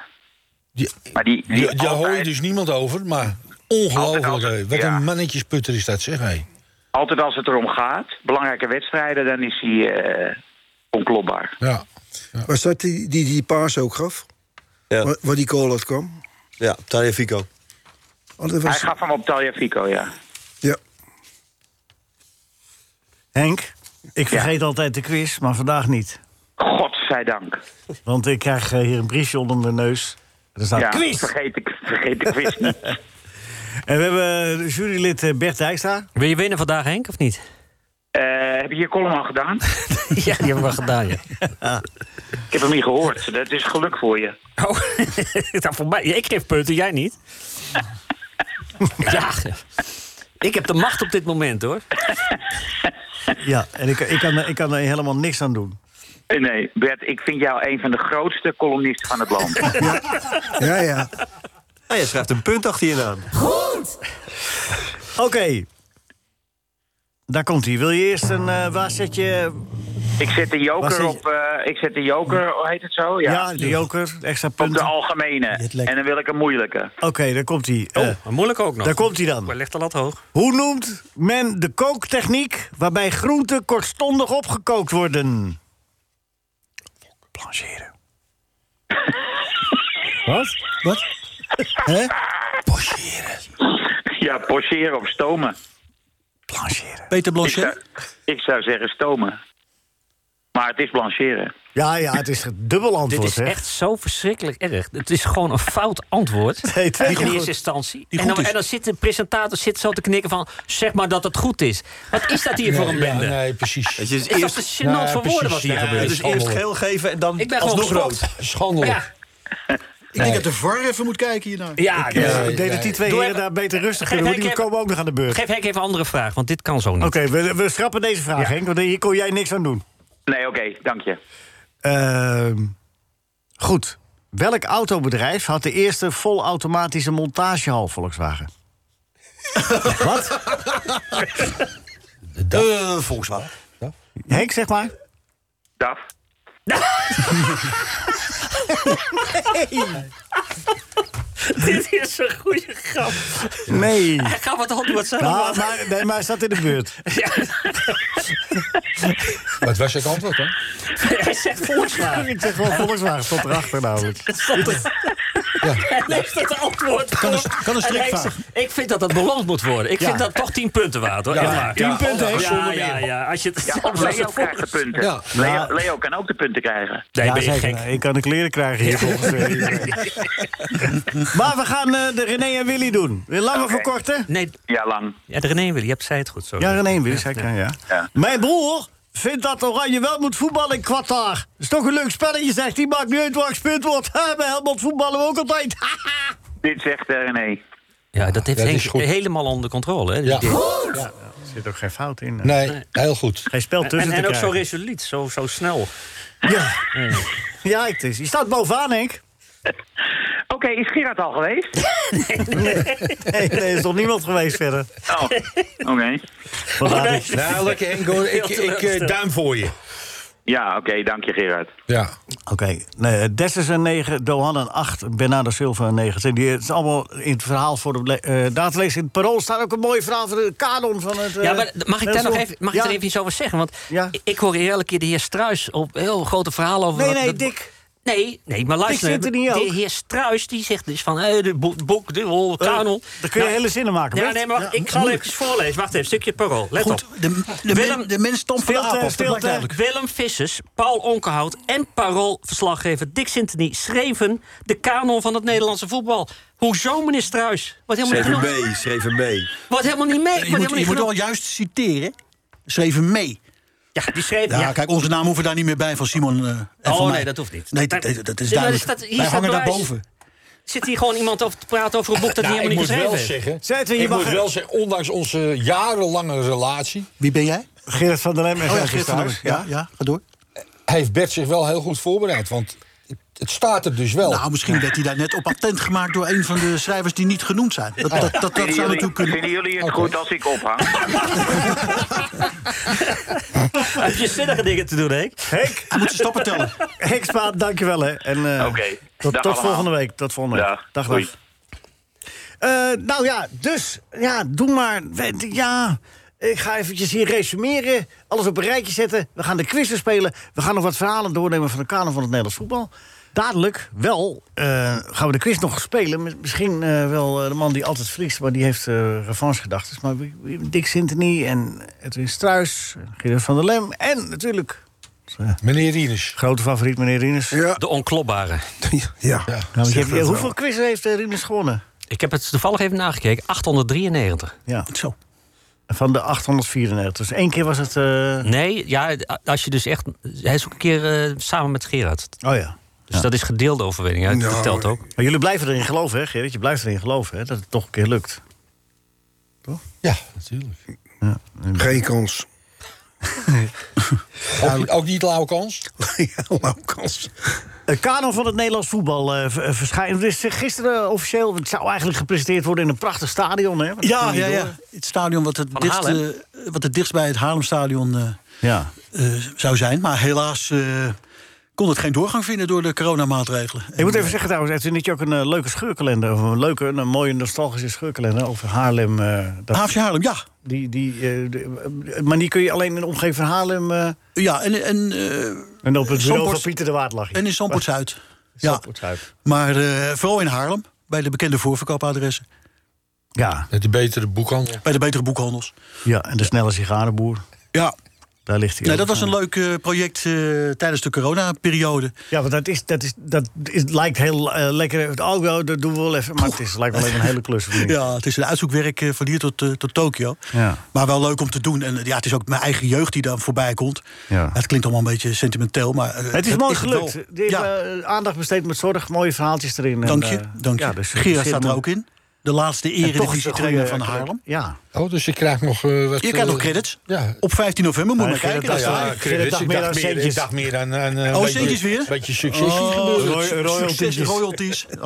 Die- maar die, die, Ja, daar hoor je altijd, dus niemand over, maar Altijd, ongelooflijk. altijd, hè. Wat ja. een mannetjesputter is dat, zeg hij. altijd als het erom gaat, belangrijke wedstrijden, dan is hij eh, onklopbaar. Ja. Was dat die die, die paas ook gaf? Ja. Waar, waar die goal uit kwam? Ja, Tanja Fico. Oh, dat Hij was, gaf hem op Taliafico, ja. ja. Henk, ik vergeet altijd de quiz, maar vandaag niet. Godzijdank. Want ik krijg eh, hier een briefje onder mijn neus. Er staat Ja, quiz! Vergeet ik, vergeet ik quiz niet. En we hebben jurylid eh, Bert Dijkstra. Wil je winnen vandaag, Henk, of niet? Eh, heb je je column al gedaan? ja, die hebben we gedaan, ja. Ik heb hem niet gehoord. Dat is geluk voor je. Oh, dat voor mij. Ik geef punten, jij niet. ja. Ik heb de macht op dit moment, hoor. Ja, en ik, ik, kan, er- ik kan er helemaal niks aan doen. Eh, Nee, Bert, ik vind jou een van de grootste columnisten van het land. ja, ja. Nou, je schrijft een punt achter je naam. Oké. Daar komt hij. Wil je eerst een eh waar zet je... Ik zet de Waar joker zit je? op... eh, ik zet de joker, hoe heet het zo? Ja, Ja, de joker, extra op de punten. algemene. En dan wil ik een moeilijke. Oké, daar komt hij. Eh, Oh, maar moeilijk ook nog. daar komt hij dan. Maar ligt de lat hoog. Hoe noemt men de kooktechniek waarbij groenten kortstondig opgekookt worden? Blancheren. Wat? Wat? Hè? Ja, pocheren of stomen. Blancheren. Ik zou, Peter Blanchet? ik zou zeggen stomen. Maar het is blancheren. Ja, ja, het is dubbel antwoord. Dit is hè? echt zo verschrikkelijk erg. Het is gewoon een fout antwoord. Nee, in die eerste goed- instantie. die En goed dan, is. en dan zit de presentator zit zo te knikken van... zeg maar dat het goed is. Wat is dat hier voor een Nee, ja, bende? nee, precies. Het is, is dat te gênant Nou, voor woorden wat precies. hier Ja, gebeurt. het is eerst Dus Geel geven en dan Ik ben gewoon alsnog rood. geschokt. Schandelijk. Ja. Ik denk dat de VAR even moet kijken hiernaar. Ja, dus Ik eh, denk dat die twee Doe heren even- daar beter Geef rustig kunnen. want Henk Die even- komen ook nog aan de beurt. Geef Henk even een andere vraag, want dit kan zo niet. Oké, we, we schrappen deze vraag, Henk, want hier kon jij niks aan doen. Nee, oké, dank je. Ehm, goed. Welk autobedrijf had de eerste volautomatische montagehal Volkswagen? Wat? Eh, Volkswagen. Henk, zeg maar. DAF. Dit is een goede grap. Nee. Hij gaat wat antwoord zijn. Nou, maar, nee, maar hij staat in de buurt. Wat was het antwoord dan? Hij zegt Volkswagen. Ik zeg gewoon Volkswagen, stond erachter namelijk. Hij leest het antwoord. Kan een- voor. kan een En hij strikvraag. zegt, Ik vind dat dat beloond moet worden. Ik Ja. vind dat toch 10 punten waard hoor. Ja, Echt waar. 10 Ja, punten, ja, Ja, hè, zonder ja, meer. ja. Als je het Ja, zelf Leo zo krijgt de punten. Ja. Leo, Leo kan ook de punten krijgen. Nee, ben je zeker. gek. Ik kan de kleren krijgen hier volgens eh, Maar we gaan eh, de René en Willy doen. Wil je Langer Oké. verkorten? Nee, Ja, lang. ja, de René Willy, je hebt zei het goed zo. Ja, René en Willy, zei ik, ja, ja. Ja. Mijn broer vindt dat Oranje wel moet voetballen in Qatar. Is toch een leuk spelletje, zegt hij. Maakt niet uit waar gespeeld wordt. Ha, Bij Helmond voetballen we ook altijd. Dit zegt eh, René. Ja, dat heeft dat Henk is goed. helemaal onder controle. Hè? Dus Ja. dit- Er zit ook geen fout in. eh. Nee, heel goed. Geen spel tussen En, en te ook zo krijgen. resoluut, zo, zo snel. Ja, ja het is. je staat bovenaan, Henk. Oké, is Gerard al geweest? Nee, nee, er is nog niemand geweest verder. Oh, oké. Wat laat nee. is- Nou, lekker Hengo, ik, ik eh, duim voor je. Ja, oké, dank je Gerard. Ja. Oké, nee, eh, Des is een 9, Dohan een 8, Bernardo Silva een 9. Zijn Die, het is allemaal in het verhaal voor de le- eh datalezer. In het parool staat ook een mooi verhaal van de kanon van het... eh, Ja, maar mag ik daar nog Nederlands- even, mag Ja. ik er even iets over zeggen? Want Ja. ik- ik hoor hier elke keer de heer Struis op heel grote verhalen over... Nee, wat- nee, dat- Dick. Nee, nee, maar luister. zit er niet de ook. heer Struis die zegt dus van eh, de bo- boek, de rol, Eh, kanon. Daar kun je Nou, hele zinnen maken. Ja, Bert. nee, maar wacht, ik ga even voorlezen. Wacht even, stukje parool. Let Goed, op. de, de, Willem- men- de mens stampt van de Stilte, aap af, dat blijkt stilte. duidelijk. Willem Vissers, Paul Onkenhout en paroolverslaggever Dick Sintony schreven de kanon van het Nederlandse voetbal. Hoezo, meneer Struis? Wat helemaal niet Schreef hem genoeg. mee, schreef hem mee. Wat helemaal niet mee. Wat Je moet, helemaal je niet moet wel genoeg. juist citeren. Schreven mee. Ja, die schreven. Ja, Ja, kijk, onze naam hoeven daar niet meer bij van Simon eh, en Oh, van mij. nee, dat hoeft niet. Nee, Maar- dat, dat- dat Dus is Ja, maar is duidelijk. dat- hier Wij staat hangen bewijs. daarboven. Zit hier gewoon iemand over te praten over een boek dat hij Nou, ik helemaal moet niet wel geschreven heeft? zeggen, Zetten, je ik mag- moet wel zeggen, ondanks onze jarenlange relatie... Wie ben jij? Gerrit van der Lem en Oh ja, Gerrit Geert van der Struijs. Lust. Ja, ja, ga door. heeft Bert zich wel heel goed voorbereid. Want het- het staat er dus wel. Nou, misschien werd hij daar net op attent gemaakt door een van de schrijvers die niet genoemd zijn. Dat, dat, dat, dat Vinden zou jullie, natuurlijk kunnen. vinden jullie het Oké. goed als ik ophang? Heb je zinnige dingen te doen, Henk? Henk, Hij moet zijn stappen tellen. Henk Spaan, dankjewel hè. En, eh, Oké, Tot, dag tot allemaal. volgende week. Tot volgende week. Dag. Dag, dag. Doei. Eh, nou ja, dus, ja, doe maar. We- Ja, ik ga eventjes hier resumeren. Alles op een rijtje zetten. We gaan de quizzen spelen. We gaan nog wat verhalen doornemen van de kanon van het Nederlands voetbal. Dadelijk wel eh, gaan we de quiz nog spelen. Met Misschien eh, wel eh, de man die altijd verliest, maar die heeft eh revanchegedachten. Maar wie- wie- Dick Sintony en Edwin Struis, Gerard van der Lem en natuurlijk Meneer Rienes. grote favoriet meneer Rinus. Ja, De onklopbare. ja. Nou, want je Zeg hebt- dat hoeveel wel. quizzen heeft eh, Rinus gewonnen? Ik heb het toevallig even nagekeken. 893. Ja. Zo. Van de 894. Dus één keer was het. eh, Nee, ja, als je dus echt... Hij is ook een keer eh, samen met Gerard. Oh ja. Dus dat is gedeelde overwinning. hè. Dat Nou, telt ook. Maar jullie blijven erin geloven, hè, Gerrit? Je blijft erin geloven, hè? Dat het toch een keer lukt. Ja, natuurlijk. Geen kans. Ook, ook niet lauwe kans. ja, nou, kans. De kanon van het Nederlands voetbal eh, v- eh, verschijnt. Het is eh, gisteren officieel. Het zou eigenlijk gepresenteerd worden in een prachtig stadion, hè? maar dat Ja, ging ja, niet ja. door. Het stadion wat het, Van dichtst, Haarlem? eh, wat het dichtst bij het Haarlemstadion eh, ja. eh, zou zijn. Maar helaas eh, kon het geen doorgang vinden door de coronamaatregelen. Ik moet even zeggen trouwens, Edwin, dat je ook een eh, leuke scheurkalender... of een leuke, een, mooie nostalgische scheurkalender over Haarlem... eh, dat, Haafje Haarlem, ja. die, die, eh, de- eh, maar die kun je alleen in de omgeving van Haarlem... eh, Ja, en, en, eh, en op het bureau Zandvoort- van Pieter de Waard lag je. en in Ah, Zandpoort-Zuid. Ja, Zandvoortzuid. maar eh, vooral in Haarlem. Bij de bekende voorverkoopadressen. Ja, Met die betere boekhandel. Bij de betere boekhandels. ja, en de snelle sigarenboer. Ja, Daar ligt hij. Nee, ook. dat was een leuk eh, project eh, tijdens de coronaperiode. Ja, want dat, is, dat, is, dat is, lijkt heel eh, lekker. Oh, ja, dat doen we wel even. Maar het is, lijkt wel even een hele klus. of niet? Ja, het is een uitzoekwerk eh, van hier tot, eh, tot Tokio. Ja. Maar wel leuk om te doen. En eh, ja, het is ook mijn eigen jeugd die dan voorbij komt. Ja. Het klinkt allemaal een beetje sentimenteel, maar... eh, Het is mooi wel. gelukt. Die hebben, eh, aandacht besteed met zorg. Mooie verhaaltjes erin. Dank En, je, eh, dank je. ja, dus het Gerard zit staat er hem- ook in. De laatste En toch is het eredivisie-trainer goede- eh, van Haarlem. Ja. Oh, dus je krijgt nog eh, wat... Je krijgt nog eh, credits. Ja. Op 15 november moet je Nou, maar kijken. Gerrit, is nou ja, waar. Gerrit, ik dacht meer- ik dacht meer aan- aan, eh, oh, een centjes beetje- weer? beetje succesjes Oh, gebeuren. roy- Succes- royalties. royalties. royalties.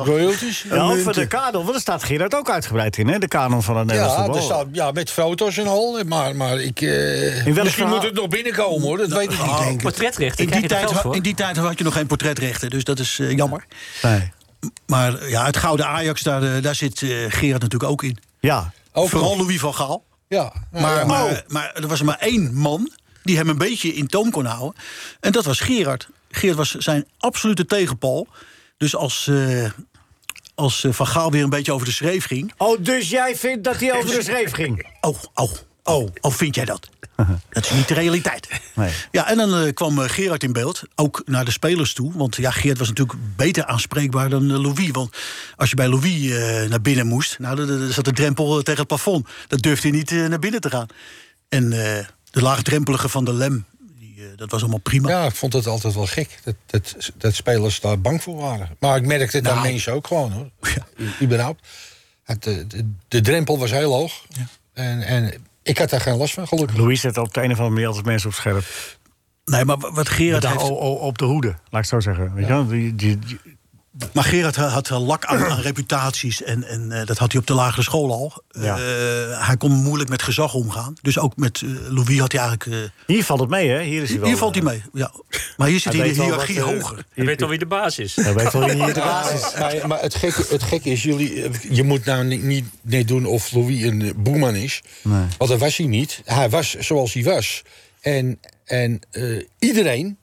Royalties? Ja, over de kanon. Want daar staat Gerard ook uitgebreid in, hè? De kanon van het Nederlands Ja, voetbal. er staat, ja, met foto's en al. Maar, maar ik, eh, welk misschien verhaal- moet het nog binnenkomen, hoor. Dat weet ik niet. denk ik. In die, tijd, ha- in die tijd had je nog geen portretrechten, dus dat is eh, jammer. Nee. Maar eh, ja, het gouden Ajax, daar, eh, daar zit eh, Gerard natuurlijk ook in. Ja. Vooral Louis van Gaal. Ja. Oh. Maar, maar, maar er was maar één man die hem een beetje in toom kon houden. En dat was Gerard. Gerard was zijn absolute tegenpal. Dus als, eh, als eh, Van Gaal weer een beetje over de schreef ging... Oh, dus jij vindt dat hij over de schreef ging? Oh, oh, oh, oh, vind jij dat? Dat is niet de realiteit. Nee. Ja, en dan eh, kwam eh, Gerard in beeld, ook naar de spelers toe. Want ja, Gerard was natuurlijk beter aanspreekbaar dan eh, Louis. Want als je bij Louis eh, naar binnen moest, nou, dan- dan dan zat de drempel eh, tegen het plafond. Dat durfde hij niet eh, naar binnen te gaan. En eh, de laagdrempelige van de Lem, die, eh, dat was allemaal prima. Ja, ik vond het altijd wel gek. Dat, dat, dat spelers daar bang voor waren. Maar Nou, ik merkte het aan mensen ook gewoon, hoor. I- Überhaupt. Het, de, de, de drempel was heel hoog. En, en ik had daar geen last van, gelukkig. Louis zet op de een of andere manier altijd mensen op scherp. Nee, maar wa- wat Gerard Met de- heeft- o- o- op de hoede, laat ik het zo zeggen. Weet je wel? Die- die- die- Maar Gerard ha- had wel lak aan, aan reputaties en, en eh, dat had hij op de lagere school al. Ja. Eh, hij kon moeilijk met gezag omgaan. Dus ook met eh, Louis had hij eigenlijk... eh, Hier valt het mee, hè? Hier is hij wel. eh, Hier valt hij mee, ja. Maar hier zit Hij hij in weet de wel hiërarchie wat, eh, hoger. Je weet al wie de baas is. Hij weet wel wie hier de Ja, baas is. Maar, maar het, gekke, het gekke is, jullie, je moet nou niet, niet, niet doen of Louis een eh, boeman is. Nee. Want dat was hij niet. Hij was zoals hij was. En, en eh, iedereen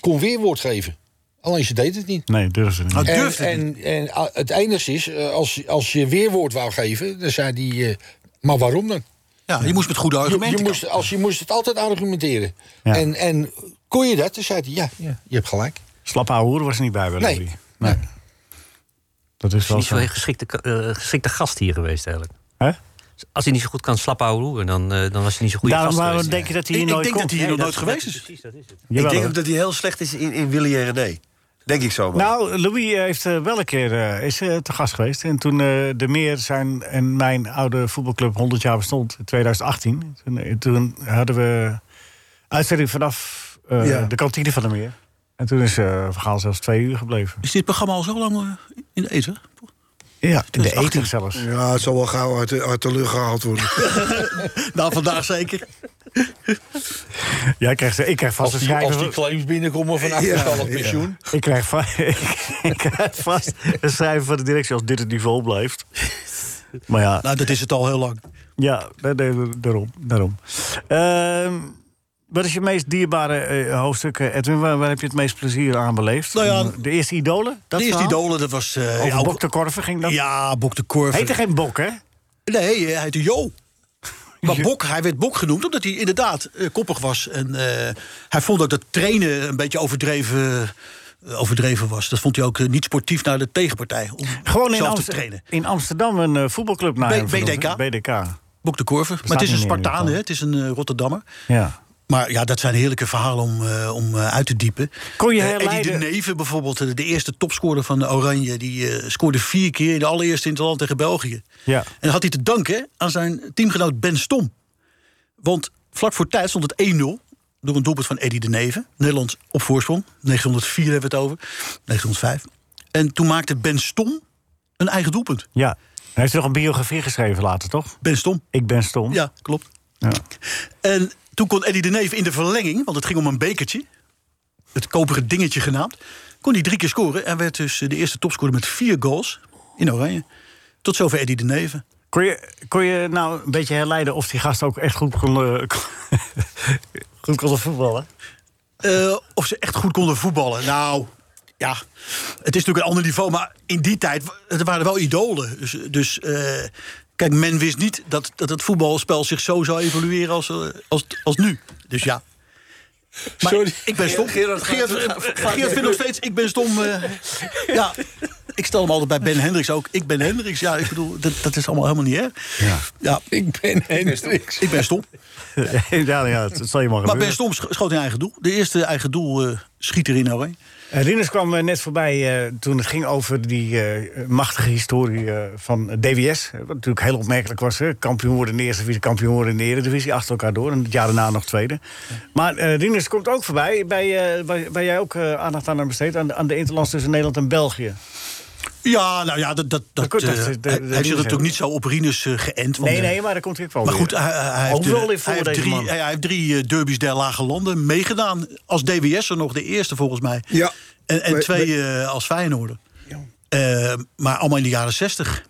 kon weerwoord geven. Alleen ze deed het niet. Nee, durfde niet. Hij En, durfde niet. en, en ah, het enige is, eh, als, als je weerwoord wou geven, dan zei hij... eh, maar waarom dan? Ja, je moest met goede Je, argumenten je, komen. moest, als, je moest het altijd argumenteren. Ja. En, en kon je dat? Dan zei hij, ja, ja je hebt gelijk. Slap ouwe hoer was er niet bij bij Nee. Louis. Nee. Dat is is wel niet zo. zo'n geschikte, ka- eh, geschikte gast hier geweest eigenlijk. Hè? Als hij niet zo goed kan slap ouwe roeren, dan, eh, dan was hij niet zo goed Daarom gast waarom geweest. denk je dat hij Ik, hier ik nooit denk dat komt? hij hier nog Nee, nooit dat- geweest is. Precies, dat is het. Ik Jawel, denk hoor. ook dat hij heel slecht is in, in Willy en René. Denk ik zo. maar. Nou, Louis heeft eh, wel een keer eh, is, eh, te gast geweest. En toen eh, de Meer zijn en mijn oude voetbalclub 100 jaar bestond, in 2018. Toen, eh, toen hadden we uitzending vanaf eh, Ja. de kantine van de Meer. En toen is eh Van Gaal zelfs twee uur gebleven. Is dit programma al zo lang eh, in de eten? Ja, in de 2018. eten Dus zelfs. Ja, het zal wel gauw uit de, uit de lucht gehaald worden. Nou, vandaag zeker. Jij krijgt, ik krijg vast Als een die, als die schrijver. claims binnenkomen van Ja, achterstallig ja. pensioen... Ik krijg, va- ik krijg vast een schrijver van de directie als dit het niveau blijft. Maar ja, Nou, dat is het al heel lang. Ja, nee, nee, daarom. daarom. Ehm, wat is je meest dierbare eh, hoofdstuk, eh, Edwin? Waar, waar heb je het meest plezier aan beleefd? Nou ja, Om, de eerste idolen? Dat de eerste verhaal? idolen, dat was... eh, Over ja, ook- Bok de Korver ging dat? ja, Bok de Korver. Heette geen Bok, hè? Nee, eh, hij heette Jo. Maar Bok, hij werd Bok genoemd omdat hij inderdaad eh, koppig was. En eh, hij vond ook dat trainen een beetje overdreven, eh, overdreven was. Dat vond hij ook eh, niet sportief naar de tegenpartij. Om Gewoon in, zelf te Amster- trainen. in Amsterdam een eh, voetbalclub naar B- hem vernoemd, BDK. hè? BDK. Bok de Korver. Maar het is een niet meer in dit Spartaan, land. hè? het is een eh, Rotterdammer. Ja. Maar ja, dat zijn heerlijke verhalen om, eh, om eh, uit te diepen. Kon je Eh, Eddie herleiden- de Neve bijvoorbeeld, eh, de eerste topscorer van de Oranje... die eh, scoorde vier keer, de allereerste in het land tegen België. Ja. En dat had hij te danken aan zijn teamgenoot Ben Stom. Want vlak voor tijd stond het 1-0 door een doelpunt van Eddie de Neve. Nederland op voorsprong. 904 hebben we het over. 905. En toen maakte Ben Stom een eigen doelpunt. ja. Hij heeft nog een biografie geschreven later, toch? Ben Stom. Ik ben stom. Ja, klopt. En toen kon Eddie de Neef in de verlenging, want het ging om een bekertje... het koperen dingetje genaamd... kon hij drie keer scoren en werd dus de eerste topscorer met vier goals in oranje. Tot zover Eddie de Neef. Kon, je, kon je nou een beetje herleiden of die gast ook echt goed kon, eh, kon- goed kon voetballen? Eh, of ze echt goed konden voetballen? Nou, ja, het is natuurlijk een ander niveau. Maar in die tijd wa- er waren wel idolen. Dus, dus eh, kijk, men wist niet dat, dat het voetbalspel zich zo zou evolueren als, eh, als, als nu. Dus ja, Sorry. Ik ben stom. Gerard Gerard, gaat- Geert, vindt nog steeds, ik ben stom. eh, ja, ik stel hem altijd bij Ben Hendricks ook. Ik ben Hendricks. Ja, ik bedoel, dat, dat is allemaal helemaal niet erg. Ja. ik ben Hendricks. Ik ben stom. ja, ja, dat zal je maar Maar gebeuren. Ben Stom scho- schoot in eigen doel. De eerste eigen doel eh schiet erin alweer. Eh, Rinus kwam eh, net voorbij eh, toen het ging over die eh, machtige historie eh, van DWS. eh, Wat natuurlijk heel opmerkelijk was. Hè? Kampioen worden in de eerste divisie, kampioen worden in de eredivisie. Achter elkaar door en het jaar daarna nog tweede. Maar eh Rinus komt ook voorbij. Bij, eh, waar, waar jij ook eh, aandacht aan hebt besteed. Aan, de- aan de interlands tussen Nederland en België. Ja, nou ja, dat, dat, dat, goed, eh, dat- dat- hij- dat- hij dat heeft doen zich ze natuurlijk niet zo op Rinus eh, geënt. want, nee, eh, nee, maar daar komt hij ook wel Maar weer. goed, hij, hij- hij heeft, Ook wel eh, in voor hij heeft deze drie, man. hij heeft drie eh, derbies der lage landen meegedaan. Als DWS er nog de eerste volgens mij. Ja. En, en We- twee eh, als Feyenoorder. Eh, maar allemaal in de jaren zestig.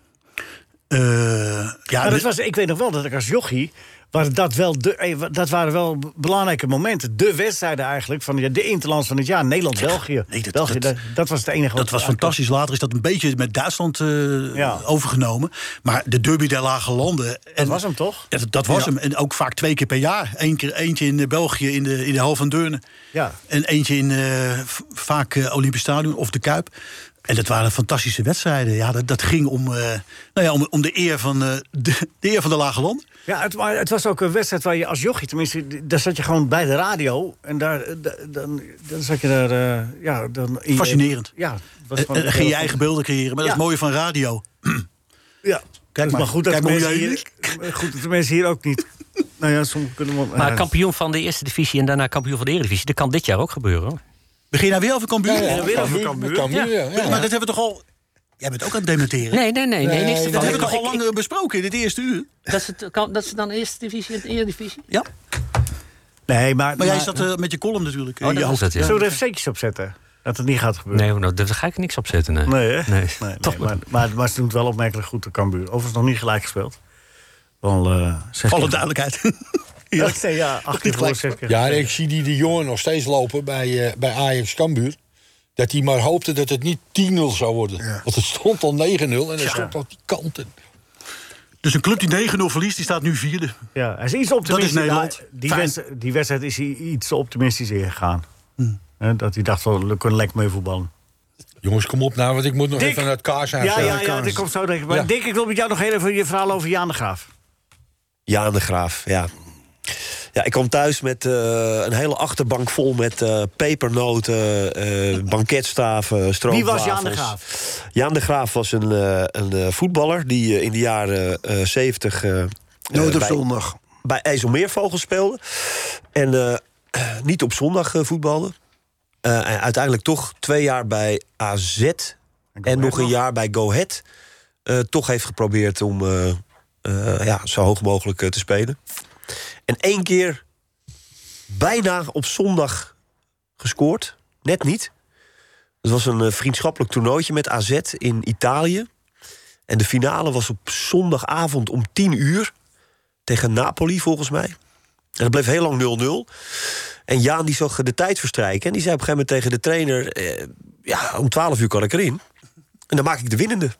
Eh, ja, maar Nou, Ah, dat de- was, ik weet nog wel dat ik als jochie... waren dat, wel de, eh, wa- dat waren wel b- belangrijke momenten. De wedstrijden eigenlijk van ja, de interlands van het jaar. Nederland-België. nee, dat- België, dat- dat, dat was het enige. dat was fantastisch. Later is dat een beetje met Duitsland eh, overgenomen. Maar de derby der lage landen. Dat was hem toch? Ja, dat, dat was Ja. hem. En ook vaak twee keer per jaar. Eén keer, eentje in eh, België in de, in de hal van Deurne. Ja. En eentje in eh, v- vaak eh, Olympisch Stadion of de Kuip. En dat waren fantastische wedstrijden. Ja, dat, dat ging om, eh, nou ja, om, om de, eer van, eh, de, de eer van de lage land. Ja, het, maar het was ook een wedstrijd waar je als jochie, tenminste, d- daar zat je gewoon bij de radio. En daar, eh, d- dan, dan zat je daar, eh, ja, dan... in je- Fascinerend. Ja. het was En, gewoon en Eh, dan ging je eigen beelden creëren. Maar dat is Ja. het mooie van radio. Ja. Kijk maar, maar, goed dat kijk de maar hoe mensen jij- hier, eh, goed dat de mensen hier ook niet... nou ja, sommigen kunnen wel... Maar eh, kampioen van de eerste divisie en daarna kampioen van de eredivisie... dat kan dit jaar ook gebeuren. hoor. Begin nou weer over Cambuur. Ja, ja, weer over Cambuur. Cambuur, Ja. ja. Maar dat hebben we toch al... Jij bent ook aan het dementeren. Nee, nee, nee, nee, niks ervan. Dat hebben we Ik- toch al ik- lang eh, besproken in het eerste uur? Dat ze, het- kan- dat ze dan eerste divisie en eredivisie? Ja. Nee, maar... Maar jij zat eh, met je column natuurlijk. eh, Oh, in je dat was het, hoofd. ja. Zullen we er even zetjes op zetten? Dat het niet gaat gebeuren. Nee, nou, daar ga ik niks op zetten. Nee, Nee, hè? Nee. Nee, nee, maar, maar, maar ze doen het wel opmerkelijk goed, de Cambuur. Overigens nog niet gelijk gespeeld. Wel, eh zes Alle keer. duidelijkheid. Ja, ik zei ja, acht keer verloren, zes keer Ja, en gespeeld. ik zie die de jongen nog steeds lopen bij, eh, bij Ajax Cambuur. Dat hij maar hoopte dat het niet 10-0 zou worden. Want het stond al 9-0 en er stond al die kanten. Dus een club die 9-0 verliest, die staat nu vierde. Ja, hij is iets Dat is optimistisch. Nederland. Ja, die, Fijn. wedstrijd, die wedstrijd is hij iets optimistisch ingegaan. Hè, Dat hij dacht, wel, we kunnen lekker mee voetballen. Jongens, kom op nou, want ik moet nog Dick. even naar het kaarshuis. Ja, eh, ja, ja, kaars. dat komt zo denk ik. Maar Ja. Dick, ik wil met jou nog heel even je verhaal over Jaan de Graaf. Ja, de Graaf, ja. Ja, ik kwam thuis met eh, een hele achterbank vol met eh, pepernoten, eh, banketstaven, Wie stroopwafels. was Jaan de Graaf? Jaan de Graaf was een, eh, een eh, voetballer die eh, in de jaren eh, 70... eh, Nooit op bij- zondag. Bij IJsselmeervogels speelde. En eh, niet op zondag eh, voetbalde. Eh, en uiteindelijk toch twee jaar bij AZ. En, nog een jaar bij Go Ahead. eh, toch heeft geprobeerd om eh, eh, ja, zo hoog mogelijk eh, te spelen. En één keer bijna op zondag gescoord. Net niet. Het was een eh, vriendschappelijk toernooitje met AZ in Italië. En de finale was op zondagavond om 10 uur. Tegen Napoli, volgens mij. En dat bleef heel lang 0-0. En Jaan die zag de tijd verstrijken. En die zei op een gegeven moment tegen de trainer... eh, ja, om 12 uur kan ik erin. En dan maak ik de winnende.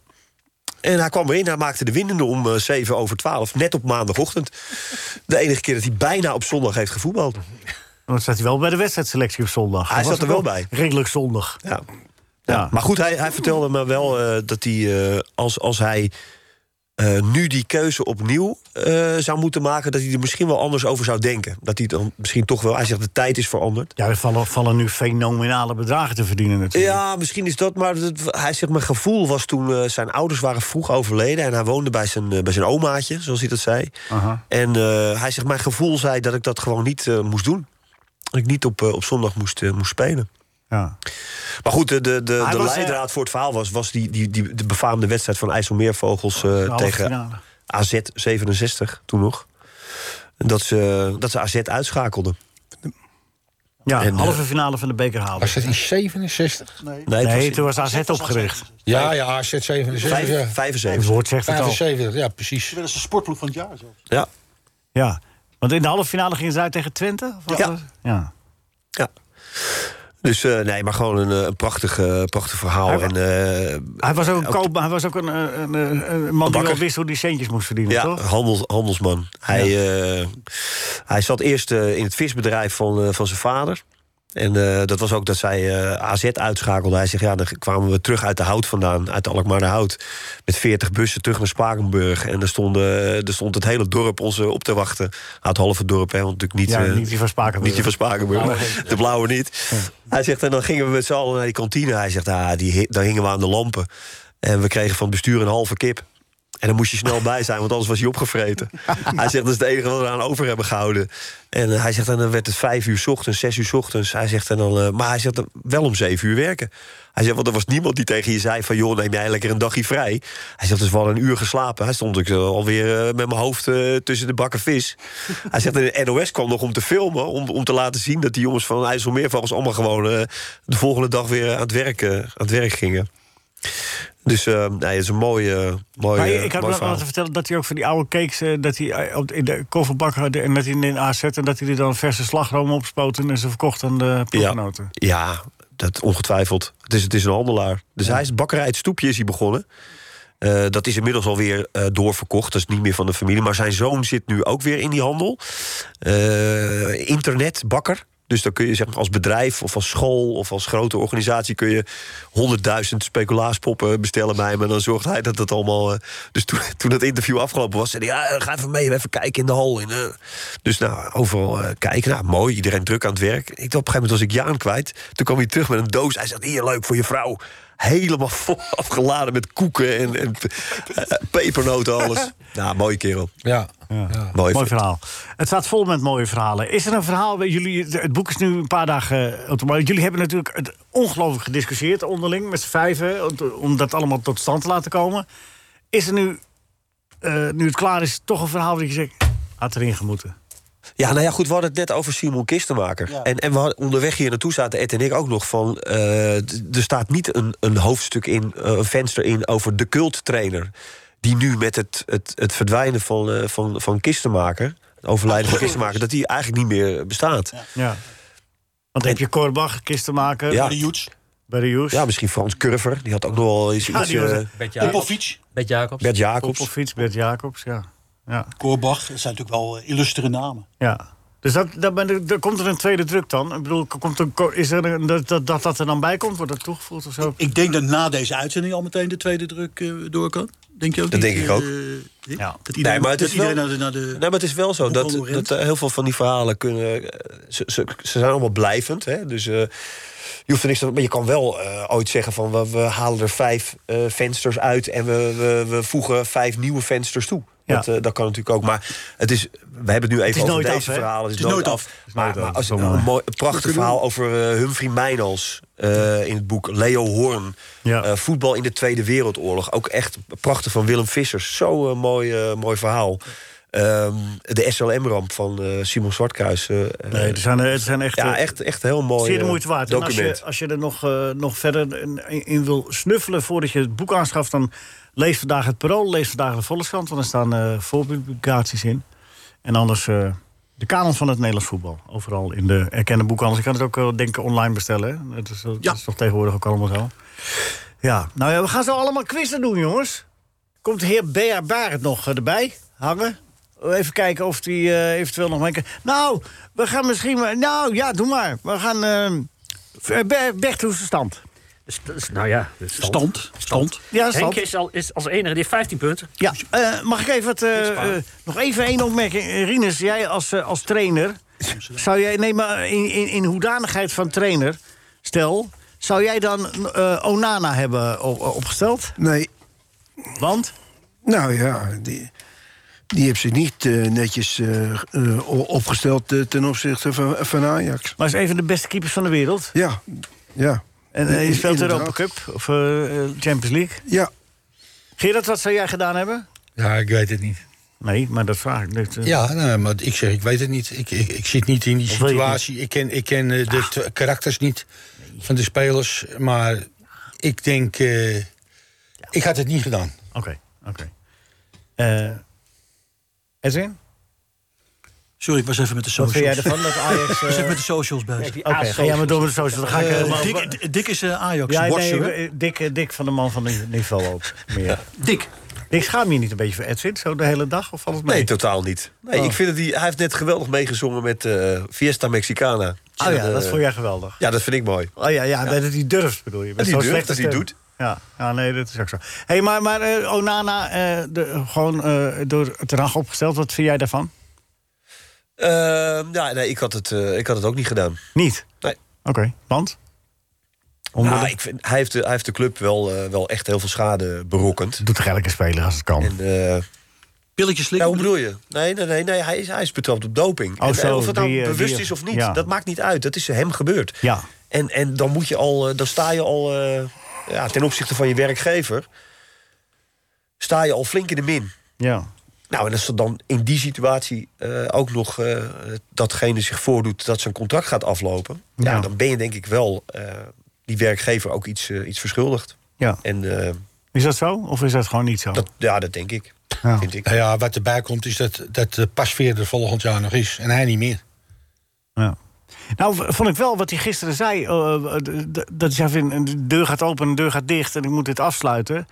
En hij kwam erin, hij maakte de winnende om eh, 7 over 12. Net op maandagochtend. De enige keer dat hij bijna op zondag heeft gevoetbald. Dan zat hij wel bij de wedstrijdselectie op zondag. Hij Dat zat was er ook wel bij. Redelijk zondag. Ja. Ja. Maar goed, hij, hij vertelde me wel eh, dat hij, eh, als, als hij eh, nu die keuze opnieuw eh, zou moeten maken, dat hij er misschien wel anders over zou denken. Dat hij dan misschien toch wel, hij zegt de tijd is veranderd. Ja, er vallen, vallen nu fenomenale bedragen te verdienen natuurlijk. Ja, misschien is dat, maar dat- hij zegt mijn gevoel was toen eh, zijn ouders waren vroeg overleden en hij woonde bij zijn, eh, bij zijn omaatje, zoals hij dat zei. Aha. En eh, hij zegt mijn gevoel zei dat ik dat gewoon niet eh, moest doen. Dat ik niet op, eh, op zondag moest, eh, moest spelen. Ja. Maar goed, de, de, de, Hij de was, eh, leidraad voor het verhaal was, was die, die, die de befaamde wedstrijd van IJsselmeervogels eh, halve tegen finale. AZ 67 toen nog. En Dat ze, dat ze AZ uitschakelden. Ja, En, eh, halve finale van de beker halen. Was dat in 67? Nee, Nee, het was in- toen was AZ opgericht. Ja, ja, AZ 77. Vijf- ja. 75. Het woord zegt het al. 75, ja, precies. Dat is de sportploeg van het jaar zo. Ja. Ja, want in de halve finale gingen ze uit tegen Twente? Of wat Ja. was het? ja. Ja. Dus eh, nee, maar gewoon een, eh, een prachtig, eh, prachtig verhaal. Hij wa- en, eh, Hij was ook een, koop, hij was ook een, eh, een, eh, een man die wel bakker. wist hoe die centjes moest verdienen, ja, toch? handels, handelsman. Hij, eh, Hij zat eerst eh, in het visbedrijf van, eh, van zijn vader. En eh, dat was ook dat zij eh, AZ uitschakelde. Hij zegt, ja, dan kwamen we terug uit de hout vandaan, uit Alkmaar de Hout. Met 40 bussen terug naar Spakenburg. En er, stonden, er stond het hele dorp ons eh, op te wachten. Nou, het halve dorp, hè, want natuurlijk niet... Ja, eh, niet die van Spakenburg. Oh, Niet die van Spakenburg, Blauwe de blauwe niet. Hij zegt, en dan gingen we met z'n allen naar die kantine. Hij zegt, ah, die, hi- daar hingen we aan de lampen. En we kregen van het bestuur een halve kip. En dan moest je snel bij zijn, want anders was hij opgevreten. hij zegt, dat is het enige wat we aan over hebben gehouden. En eh, hij zegt, en dan werd het vijf uur 's ochtends, zes uur 's ochtends. Hij zegt, en dan, eh, maar hij zegt, dan wel om zeven uur werken. Hij zegt, want er was niemand die tegen je zei van... joh, neem jij lekker een dagje vrij. Hij zegt, dus wel een uur geslapen. Hij stond ik eh, alweer eh, met mijn hoofd eh, tussen de bakken vis. hij zegt, en de NOS kwam nog om te filmen... om, om te laten zien dat die jongens van IJsselmeervogels... allemaal gewoon eh, de volgende dag weer aan het werk, eh, aan het werk gingen. Dus eh, nee, het is een mooie, mooie Maar ik had Oh, mooi me verhaal. laten vertellen dat hij ook van die oude cakes... eh, dat hij eh, op, in de kofferbak had en dat hij in AZ... en dat hij er dan verse slagroom opspoten en ze verkocht aan de ploeggenoten. Ja, dat ongetwijfeld. Het is, het is een handelaar. Dus hij is bakkerij Het Stoepje is hij begonnen. Eh, dat is inmiddels alweer eh doorverkocht. Dat is niet meer van de familie. Maar zijn zoon zit nu ook weer in die handel. Eh, internetbakker. Dus dan kun je zeg maar, als bedrijf of als school of als grote organisatie... kun je honderdduizend speculaaspoppen bestellen bij hem. En dan zorgt hij dat dat allemaal... eh, dus toen, toen dat interview afgelopen was, zei hij... ja, ga even mee, even kijken in de hal. In, eh." Dus nou, overal eh, kijken. Nou, mooi, iedereen druk aan het werk. Ik, op een gegeven moment was ik Jaan kwijt. Toen kwam hij terug met een doos. Hij zegt, hier, leuk voor je vrouw. Helemaal vol afgeladen met koeken en, en eh, pepernoten, alles. nou, mooie kerel. Ja. Mooi, Mooi vent. verhaal. Het staat vol met mooie verhalen. Is er een verhaal bij jullie? Het boek is nu een paar dagen. eh, op de markt. Jullie hebben natuurlijk het ongelooflijk gediscussieerd onderling met z'n vijven. om te- Om dat allemaal tot stand te laten komen. Is er nu, eh, nu het klaar is, toch een verhaal dat je zegt. had erin gemoeten? Ja, nou ja, goed, we hadden het net over Simon Kistenmaker. En, en we hadden, onderweg hier naartoe zaten Ed en ik ook nog van... eh, d- er staat niet een, een hoofdstuk in, eh, een venster in over de culttrainer... die nu met het, het, het verdwijnen van, eh, van, van Kistenmaker... het overlijden van Kistenmaker, dat die eigenlijk niet meer bestaat. Oh, Ja. Want heb je Korbach, Kistenmaker? Ja. Bij de Joets. Ja, misschien Frans Curver, die had ook nog wel eens Ja, iets... die was- eh, Bert Jacobs. Popovic. Bert Jacobs. Bert Jacobs. Popovic, Bert Jacobs, ja. ja. Korbach, dat zijn natuurlijk wel eh, illustere namen. Ja. Dus dat, dat ben ik- daar komt er een tweede druk dan? Ik bedoel, komt er, ko- is er een, dat, dat, dat dat er dan bij komt? Wordt dat toegevoegd of zo? Ik denk dat na deze uitzending al meteen de tweede druk eh, door kan. Denk je ook Dat niet? denk ik ook. Eh, eh, ja. Dat iedereen, Nee, maar het dat is iedereen wel- naar de... Naar de Nee, maar het is wel zo dat, Hoeveel rent? dat eh, heel veel van die verhalen kunnen. eh, Ze, ze, ze zijn allemaal blijvend. Hè? Dus eh, je hoeft er niks aan. Maar je kan wel eh, ooit zeggen van we, we halen er vijf eh, vensters uit en we, we, we voegen vijf nieuwe vensters toe. Ja. Dat, eh, dat kan natuurlijk ook. Maar het is, we hebben het nu even is over nooit deze af, hè? verhalen. Het is nooit af. Het is Maar, nooit maar af. als, Dat een, is wel mooi. mooi, een prachtig verhaal over eh, Humphrey Mijnals eh, in het boek Leo Horn. Ja. Eh, voetbal in de Tweede Wereldoorlog. Ook echt prachtig van Willem Vissers. Zo'n mooi, eh, mooi verhaal. Ehm, de SLM-ramp van eh, Simon Zwartkruis. eh, Nee, het zijn, eh, het zijn echt, ja, eh, echt, echt heel mooi Zeer de eh, moeite waard. En als document. je, als je er nog, eh, nog verder in, in wil snuffelen voordat je het boek aanschaft, dan lees vandaag het Parool, lees vandaag de Volkskrant, want er staan eh, voorpublicaties in. En anders eh, de kanon van het Nederlands voetbal. Overal in de erkende boekhandels. Je kan het ook wel denken online bestellen. hè? Dat is, dat is toch tegenwoordig ook allemaal zo. Ja, nou ja, we gaan zo allemaal quizzen doen, jongens. Komt de heer B.R. Barend nog eh, erbij hangen? Oh, Even kijken of die eh, eventueel nog... Mee kan... Nou, we gaan misschien... maar- Nou, ja, doe maar. We gaan... eh, Be- Bert, hoe is de stand? Dus, dat is- nou ja, dus stand. Stand. Stand. Ja, stand. Henk is, al, is als enige, die heeft 15 punten. Ja, eh, mag ik even wat, eh, eh, nog even één opmerking? Eh, Rinus, jij als, eh, als trainer, zou jij, nee, maar in, in, in hoedanigheid van trainer, stel, zou jij dan eh, Onana hebben op- opgesteld? Nee. Want? Nou ja, die, die heeft zich niet eh, netjes eh, eh, o- opgesteld eh, ten opzichte van, van Ajax. Maar is een van de beste keepers van de wereld. Ja, ja. En eh, je In- speelt de inderdaad. Europa Cup of eh, eh, Champions League? Ja. Gerard, wat zou jij gedaan hebben? Ja, ik weet het niet. Nee, maar dat vraag ik niet. eh. Ja, nee, maar ik zeg, ik weet het niet. Ik, ik, ik zit niet in die Of weet je het situatie. Ik ken, ik ken eh, de Ah. t- karakters niet van de spelers. Maar ik denk, eh, ik had het niet gedaan. Oké, oké. Eh, Edwin? Sorry, ik was even met de Wat socials. vind jij ervan dat Ajax... Ik was even eh, met de socials bezig. Oké, ga jij maar door met de socials. Dan ga ik Eh, helemaal... Dick, Dick is eh, Ajax. Ja, watcher, nee, hè? eh, Dick, eh, Dick van de man van het niveau ook. Meer. Dick. Ik schaam je niet een beetje voor Edwin, zo de hele dag? Of valt het mee? Nee, totaal niet. Nee, Oh. ik vind dat hij, hij heeft net geweldig meegezongen met eh, Fiesta Mexicana. Oh ja, En, eh, dat vond jij geweldig. Ja, dat vind ik mooi. Oh ja, ja, dat hij durft bedoel je. Dat Met hij zo'n durft, slechte dat hij stem. doet. Ja, ja, nee, dat is ook zo. hey, maar, maar eh, Onana, eh, de, gewoon eh, door Ten Hag opgesteld, wat vind jij daarvan? Eh, ja, nee, ik had, het, eh, ik had het ook niet gedaan. Niet? Nee. Oké, want? Nou, ik vind, hij, heeft de, hij heeft de club wel, eh, wel echt heel veel schade berokkend. Doet gelijke spelen als het kan. En, eh, Pilletjes slikken? hoe bedoel je? Nee, nee, nee, nee hij, is, hij is betrapt op doping. Oh, en, zo, en of het nou die, eh, bewust die- is of niet, ja. dat maakt niet uit. Dat is hem gebeurd. Ja. En, en dan, moet je al, eh, dan sta je al eh, ja, ten opzichte van je werkgever... sta je al flink in de min. Ja. Nou, en als er dan in die situatie eh, ook nog eh, datgene zich voordoet dat zijn contract gaat aflopen, ja. Ja. dan ben je denk ik wel eh, die werkgever ook iets, eh, iets verschuldigd. Ja. En eh, Is dat zo? Of is dat gewoon niet zo? dat, ja, dat denk ik. Vind ik. Nou ja, wat erbij komt is dat, dat eh, Pasveer er volgend jaar nog is. En hij niet meer. Nou, v- vond ik wel wat hij gisteren zei. eh, d- d- dat hij zei, van, de deur gaat open, de deur gaat dicht en ik moet dit afsluiten.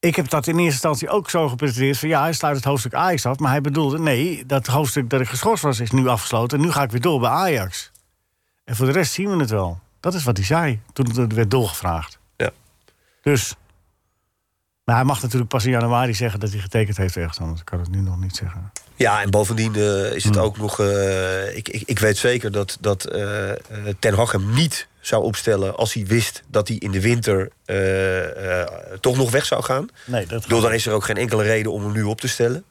Ik heb dat in eerste instantie ook zo gepresenteerd. Van, ja, hij sluit het hoofdstuk Ajax af. Maar hij bedoelde, nee, dat hoofdstuk dat ik geschorst was... is nu afgesloten en nu ga ik weer door bij Ajax. En voor de rest zien we het wel. Dat is wat hij zei toen het werd doorgevraagd. Ja. Dus. Maar hij mag natuurlijk pas in januari zeggen dat hij getekend heeft ergens anders. Ik kan het nu nog niet zeggen. Ja, en bovendien eh, is het Hmm. ook nog. eh, ik, ik, ik weet zeker dat, dat eh, eh, Ten Hag hem niet zou opstellen als hij wist dat hij in de winter eh, eh, toch nog weg zou gaan. Nee, dat Door dan is er ook geen enkele reden om hem nu op te stellen.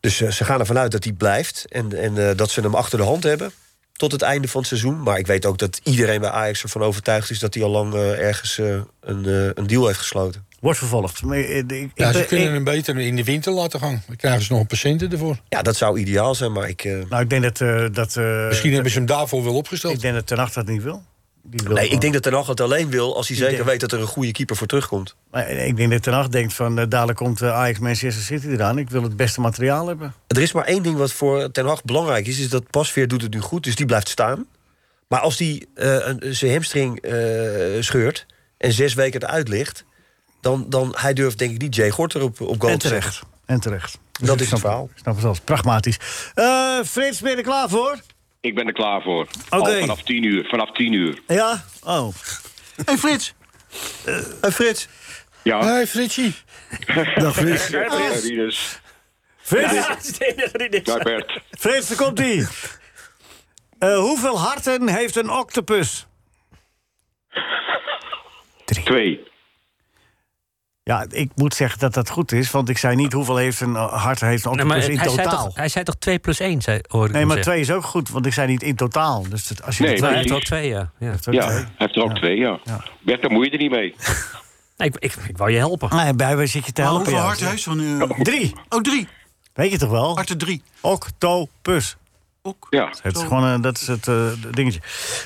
Dus eh, ze gaan ervan uit dat hij blijft en, en eh, dat ze hem achter de hand hebben tot het einde van het seizoen. Maar ik weet ook dat iedereen bij Ajax ervan overtuigd is dat hij al lang ergens eh, een, eh, een deal heeft gesloten. Wordt vervolgd. Maar, eh, ik- ik Ja, ze ben- kunnen ik- hem beter in de winter laten gaan. Dan krijgen ze nog een patiënten ervoor. Ja, dat zou ideaal zijn, maar ik. eh, Nou, ik denk dat... eh, dat eh, Misschien hebben ze hem daarvoor wel opgesteld. Ik denk dat Ten Hag dat niet wil. Die wil nee, ik gewoon- denk dat Ten Hag het alleen wil als hij Ik zeker denk- weet dat er een goede keeper voor terugkomt. Maar eh, ik denk dat Ten Hag denkt van... eh, dadelijk komt eh, Ajax Manchester City eraan. Ik wil het beste materiaal hebben. Er is maar één ding wat voor Ten Hag belangrijk is... is dat Pasveer doet het nu goed, dus die blijft staan. Maar als die eh, een- zijn hamstring eh, scheurt en zes weken eruit ligt... dan, dan hij durft denk ik niet Jay Gorter op, op goal en te terecht. zetten. En terecht. Dus Dat ik is het snap- verhaal. Ik snap het wel. Pragmatisch. Eh Frits, ben je er klaar voor? Ik ben er klaar voor. Oké. Al vanaf tien uur. Vanaf tien uur. Ja? Oh. Hey Frits. Hey Frits. Ja. Hey Fritsie. Dag Frits. Rieders. Frits, Dag Bert. Frits daar komt ie. Eh, hoeveel harten heeft een octopus? Twee. Ja, ik moet zeggen dat dat goed is. Want ik zei niet hoeveel heeft een eh, hart heeft een Nee, octopus maar in hij, zei totaal. toch, hij zei toch 2 plus 1, zei, hoorde ik nee, hem maar zeggen. twee is ook goed. Want ik zei niet in totaal. Dus dat- als je Nee, er maar hij twee heeft ook twee, ja. ja. Heeft ook Ja, twee. hij heeft er ook twee, ja. Bert, daar moet je er niet mee. Nee, ik, ik, ik wou je helpen. Nee, bij waar zit je te Maar helpen? hoeveel ja? hart heeft zo'n... Drie. Oh, drie. Weet je toch wel? Harten drie. Octopus. Ja. Het is gewoon, eh, dat is het eh, dingetje.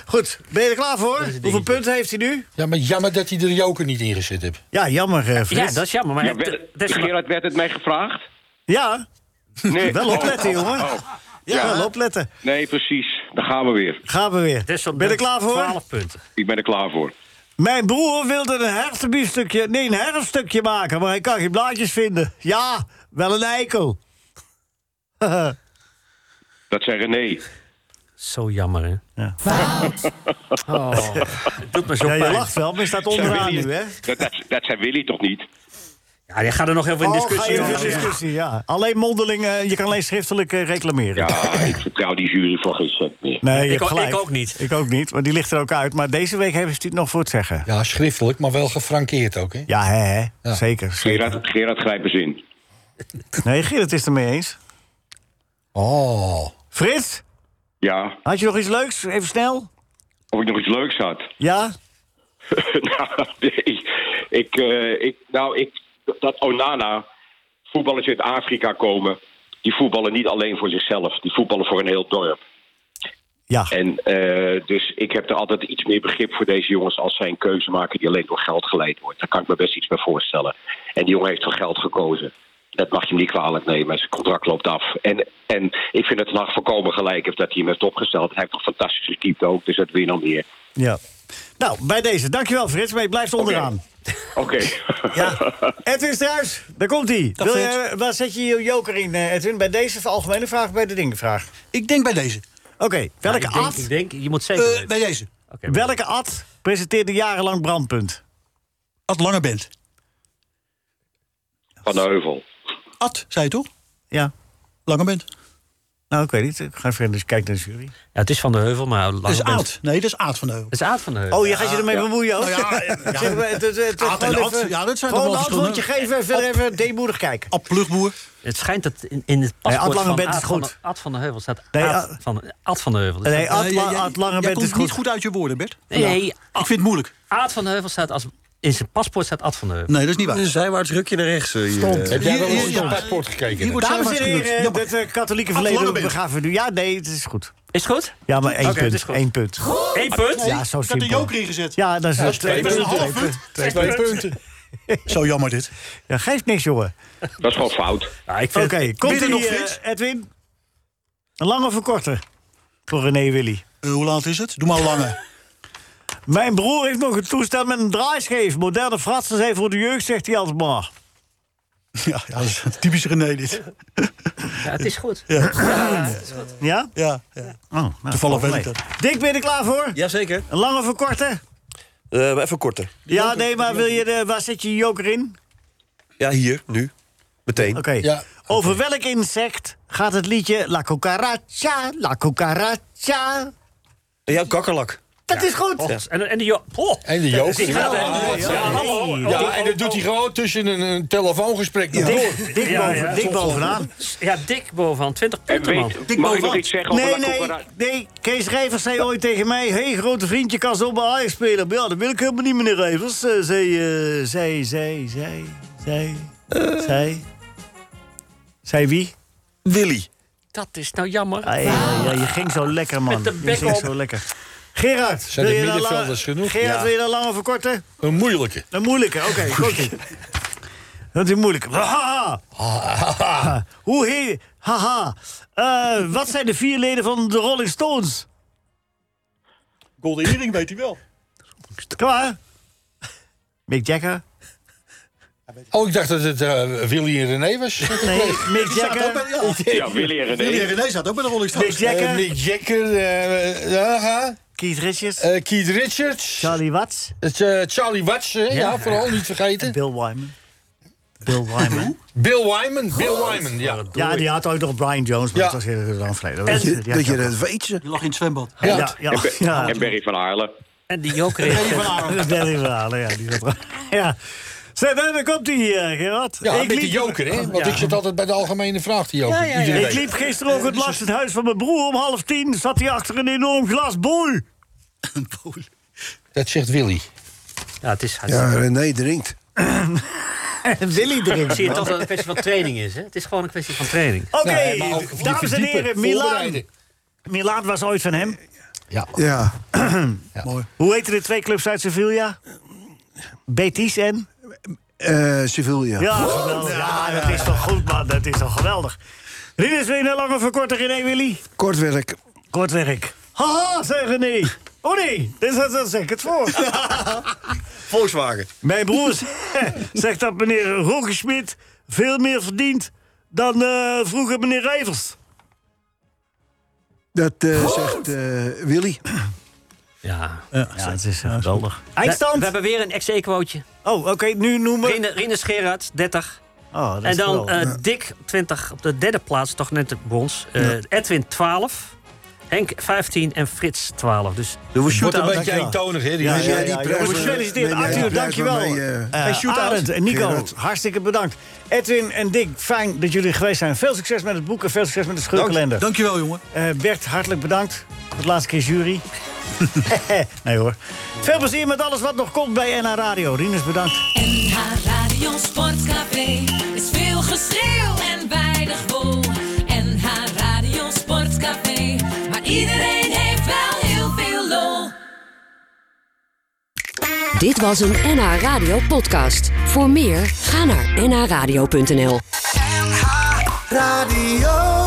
Goed, ben je er klaar voor? Hoeveel punten heeft hij nu? Ja, maar jammer dat hij de joker niet ingezet heeft. Ja, jammer, eh, Frits. Ja, dat is jammer. Maar Ja, hij- werd, dat is- Gerard, werd het mij gevraagd? Ja, Nee. wel Oh, opletten, oh, jongen. oh. Ja, Ja. wel opletten. Nee, precies. Daar gaan we weer. Gaan we weer. ben je er Desondanks klaar voor? 12 punten. Ik ben er klaar voor. Mijn broer wilde een herfstbiefstukje, nee, een herfststukje maken, maar hij kan geen blaadjes vinden. Ja, wel een eikel. Dat zei René. Zo jammer, hè? Ja. Oh, het doet me zo Ja, je pijn. lacht wel, maar je staat Zei onderaan Willy- nu, hè? Dat, dat, dat zei Willy toch niet? Ja, je gaat er nog heel veel in Oh, discussie ga je over. even in discussie, ja. Alleen mondeling, eh, je kan alleen schriftelijk eh, reclameren. Ja, ik vertrouw die jury van geen cent meer. Nee, je Ik hebt ook- gelijk. ik ook niet. Ik ook niet, want die ligt er ook uit. Maar deze week hebben ze het nog voor het zeggen. Ja, schriftelijk, maar wel gefrankeerd ook. Hè? Ja, hè, hè. Zeker. zeker. Gerard, Gerard grijp eens in. Nee, Gerrit is het ermee eens. Oh. Frits, Ja, had je nog iets leuks? Even snel. of ik nog iets leuks had. Ja? nou, nee. Ik, eh, ik, nou, ik, dat Onana, voetballers uit Afrika komen, die voetballen niet alleen voor zichzelf. Die voetballen voor een heel dorp. Ja. En eh, dus ik heb er altijd iets meer begrip voor deze jongens als zij een keuze maken die alleen door geld geleid wordt. Daar kan ik me best iets bij voorstellen. En die jongen heeft voor geld gekozen. Dat mag je hem niet kwalijk nemen. Zijn contract loopt af. En, en ik vind dat Ten Hag voorkomen gelijk heeft dat hij hem heeft opgesteld. Hij heeft toch fantastisch gekiept ook, dus dat win je nog meer. Ja. Nou, bij deze. Dankjewel, Frits. Maar je blijft onderaan. Oké. Ja. Edwin Struis, daar komt hij. Dag, Frits. Waar zet je je joker in, eh, Edwin? Bij deze de algemene vraag of bij de dingvraag? Ik denk bij deze. Oké, Nou, welke ik denk- ad... ik denk- je moet zeker Eh, weten. bij deze. welke ad presenteerde jarenlang Brandpunt? Ad Langebent. Van de Heuvel. Ad, zei je toch? Ja. Langebent. Nou, ik weet niet. Ik ga even eens kijken naar de jury. Ja, het is van de heuvel, maar lang Dat is Aad. Nee, dat is Aad van de Heuvel. Dat is Aad van de Heuvel. Oh, je gaat je ermee bemoeien ook? Nou ja, ja, ja. Zeg maar, het- het- het- Aad en gewoon Ad. even- Ja, dat zijn toch Gewoon wel een antwoordje verschillende- geven en verder even deemoedig kijken. Ad Plugboer. Het schijnt dat in, in het Nee, Ad paspoort van, Langebent is Aad van, goed. Ad van de Heuvel staat Nee, Aad, Ad- van, Ad van de Heuvel. Dus Nee, dat- Ad, Eh, La- jij- Ad Langebent jij komt is goed. niet goed uit je woorden, Bert. Nee, Vandaag. Ik vind het moeilijk. Aad van de Heuvel staat als... In zijn paspoort staat Ad van de Heuvel. Nee, dat is niet waar. Een zijwaarts rukje naar rechts. eh, hier. Stond. Heb jij wel Hier- eens hier- op het paspoort gekeken? hier wordt Dames en zijwaarts heren, gebeurd. Jammer. het eh, katholieke Ad verleden Langebent. begaven we nu. Ja, nee, het is goed. Is het goed? Ja, maar één Oké, het is punt. goed. Één punt. Eén punt? Ja, zo Ik had de simpel. joker ingezet. Ja, dat is het. twee Dat is een punten. half punt. Twee, twee punten. Zo jammer dit. Ja, geeft niks, jongen. Dat is gewoon fout. Nou, ik Oké, vind komt Binnen er nog nog Frits? Edwin? Een lange of een korte? Voor René Willy. Eh, hoe laat is het? Doe maar een lange. Mijn broer heeft nog een toestel met een draaischeef. Moderne fratsen zijn voor de jeugd, zegt hij altijd maar. ja, ja, dat is typisch René dit. Ja, het is goed. Ja? Ja, ja. Oh, nou, Toevallig weet nee. ik dat. Dick, ben je er klaar voor? Jazeker. Een lange of een korte? Eh, maar even korter. ja, nee, maar wil je de, waar zet je je joker in? Ja, hier, nu. Meteen. Oké. Over welk insect gaat het liedje La Cucaracha, La Cucaracha? Ja, kakkerlak. Dat is goed. Och, En, en die... jo- Oh. En de joker. Ja, Ja, en dat doet hij gewoon tussen een, een telefoongesprek nog door. Dik, dik Ja, boven- ja. dik bovenaan. Ja, dik bovenaan. 20 En punten, man. weet, mag ik nog iets zeggen Nee, over La nee, Cucaracha? nee. Kees Rijvers zei ooit tegen mij... hey, grote vriendje, kan zo bij Ajax spelen. Maar ja, dat wil ik helemaal niet, meneer Rijvers. Eh, Zei, eh, zei, zei, zei, zei, Eh. zei... Zei wie? Willy. Dat is nou jammer. Ah, ja, ja, je ging zo lekker, man. Met de je bek ging op. zo lekker. Gerard, Zijn wil de je daar middenvelders lang- genoeg? Gerard, Ja. wil je daar lang over korten? Een moeilijke. Een moeilijke, Nou, oké. goed. Dat is moeilijk. Haha. Hoe heet... Haha. Eh, wat zijn de vier leden van de Rolling Stones? Golden Earring weet hij wel. Klaar? Mick Jagger? Oh, ik dacht dat het eh, Willy en René was. Nee, Eh, Mick Die staat ook bij, Jagger. ja. Ja, Willy en Willy en René. René staat ook bij de Rolling Mick Stones. Eh, Jagger. Mick Jagger, eh, ja, ja. Keith Richards. Eh, Keith Richards, Charlie Watts. Het, eh, Charlie Watts, hè, ja, vooral niet vergeten. Bill Wyman. Bill Wyman. Bill Wyman, Bill Wyman, ja. ja, die had ooit nog Brian Jones, maar Ja. dat was heel lang geleden. Dat je, die dat, je had- dat weet ze. Die lag in het zwembad. Ja. Ja, ja, En, Be- ja. en Berry van Aarle. En die joker is... Eddie van Aron. Dat zijn die verhalen, ja. Die zat er- ja. Zet, daar komt hij, eh, Gerard. Ja, met liep- de joker, hè? Want ik zit altijd bij de algemene vraag, die joker. Iedere Ik week. liep gisterochtend langs het huis van mijn broer om half tien. Zat hij achter een enorm glas boei. Dat zegt Willy. Ja, het is... Ja, René drinkt. Willy erin. Zie je toch dat het een kwestie van training is, hè? Het is gewoon een kwestie van training. Oké, Nee, Nou, maar ook je dames en verdiepen, heren, Milaan. voorbereiden. Milaan was ooit van hem. Ja, Hoe heten de twee clubs uit Sevilla? Betis en? Eh Sevilla. Ja, geweldig. Ja, dat is toch goed, man. Dat is toch geweldig. Rinus, wil je nou langer verkorten, René Willy? Kort werk. Kort werk. Haha, zei René. Oh nee, dit is dat zeg ik het voor. Volkswagen. Mijn broer z- zegt dat meneer Roggeschmid veel meer verdient dan eh, vroeger meneer Rijvers. Dat eh, zegt eh, Willy. Ja. Ja, het is eh, geweldig. Eindstand? We hebben weer een ex-equootje. Oh, oké, nu noemen we... Rine, Rine Gerard, 30. Oh, dat is En dan geweldig. eh Dick, 20. Op de derde plaats, toch net het brons. Eh, Edwin, 12. Henk, 15. En Frits, 12. Dus Doen we Wordt een shootout. beetje eentonig, hè? Die Ja, ja, mensen. ja, die jongens, prijs, eh, gefeliciteerd. nee, nee, Arthur, die prijs dankjewel. waarmee, eh, Eh, geen shoot-out. Arend en Nico, Gerard. hartstikke bedankt. Edwin en Dick, fijn dat jullie er geweest zijn. Veel succes met het boek en veel succes met de scheurkalender. Dankjewel, jongen. Eh, Bert, hartelijk bedankt. Voor het laatste keer jury. nee hoor. Veel plezier met alles wat nog komt bij NH Radio. Rinus, bedankt. NH Radio Sportcafé is veel geschreeuw en weinig wol. NH Radio Sportcafé, maar iedereen heeft wel heel veel lol. Dit was een NH Radio podcast. Voor meer, ga naar nhradio.nl. Radio.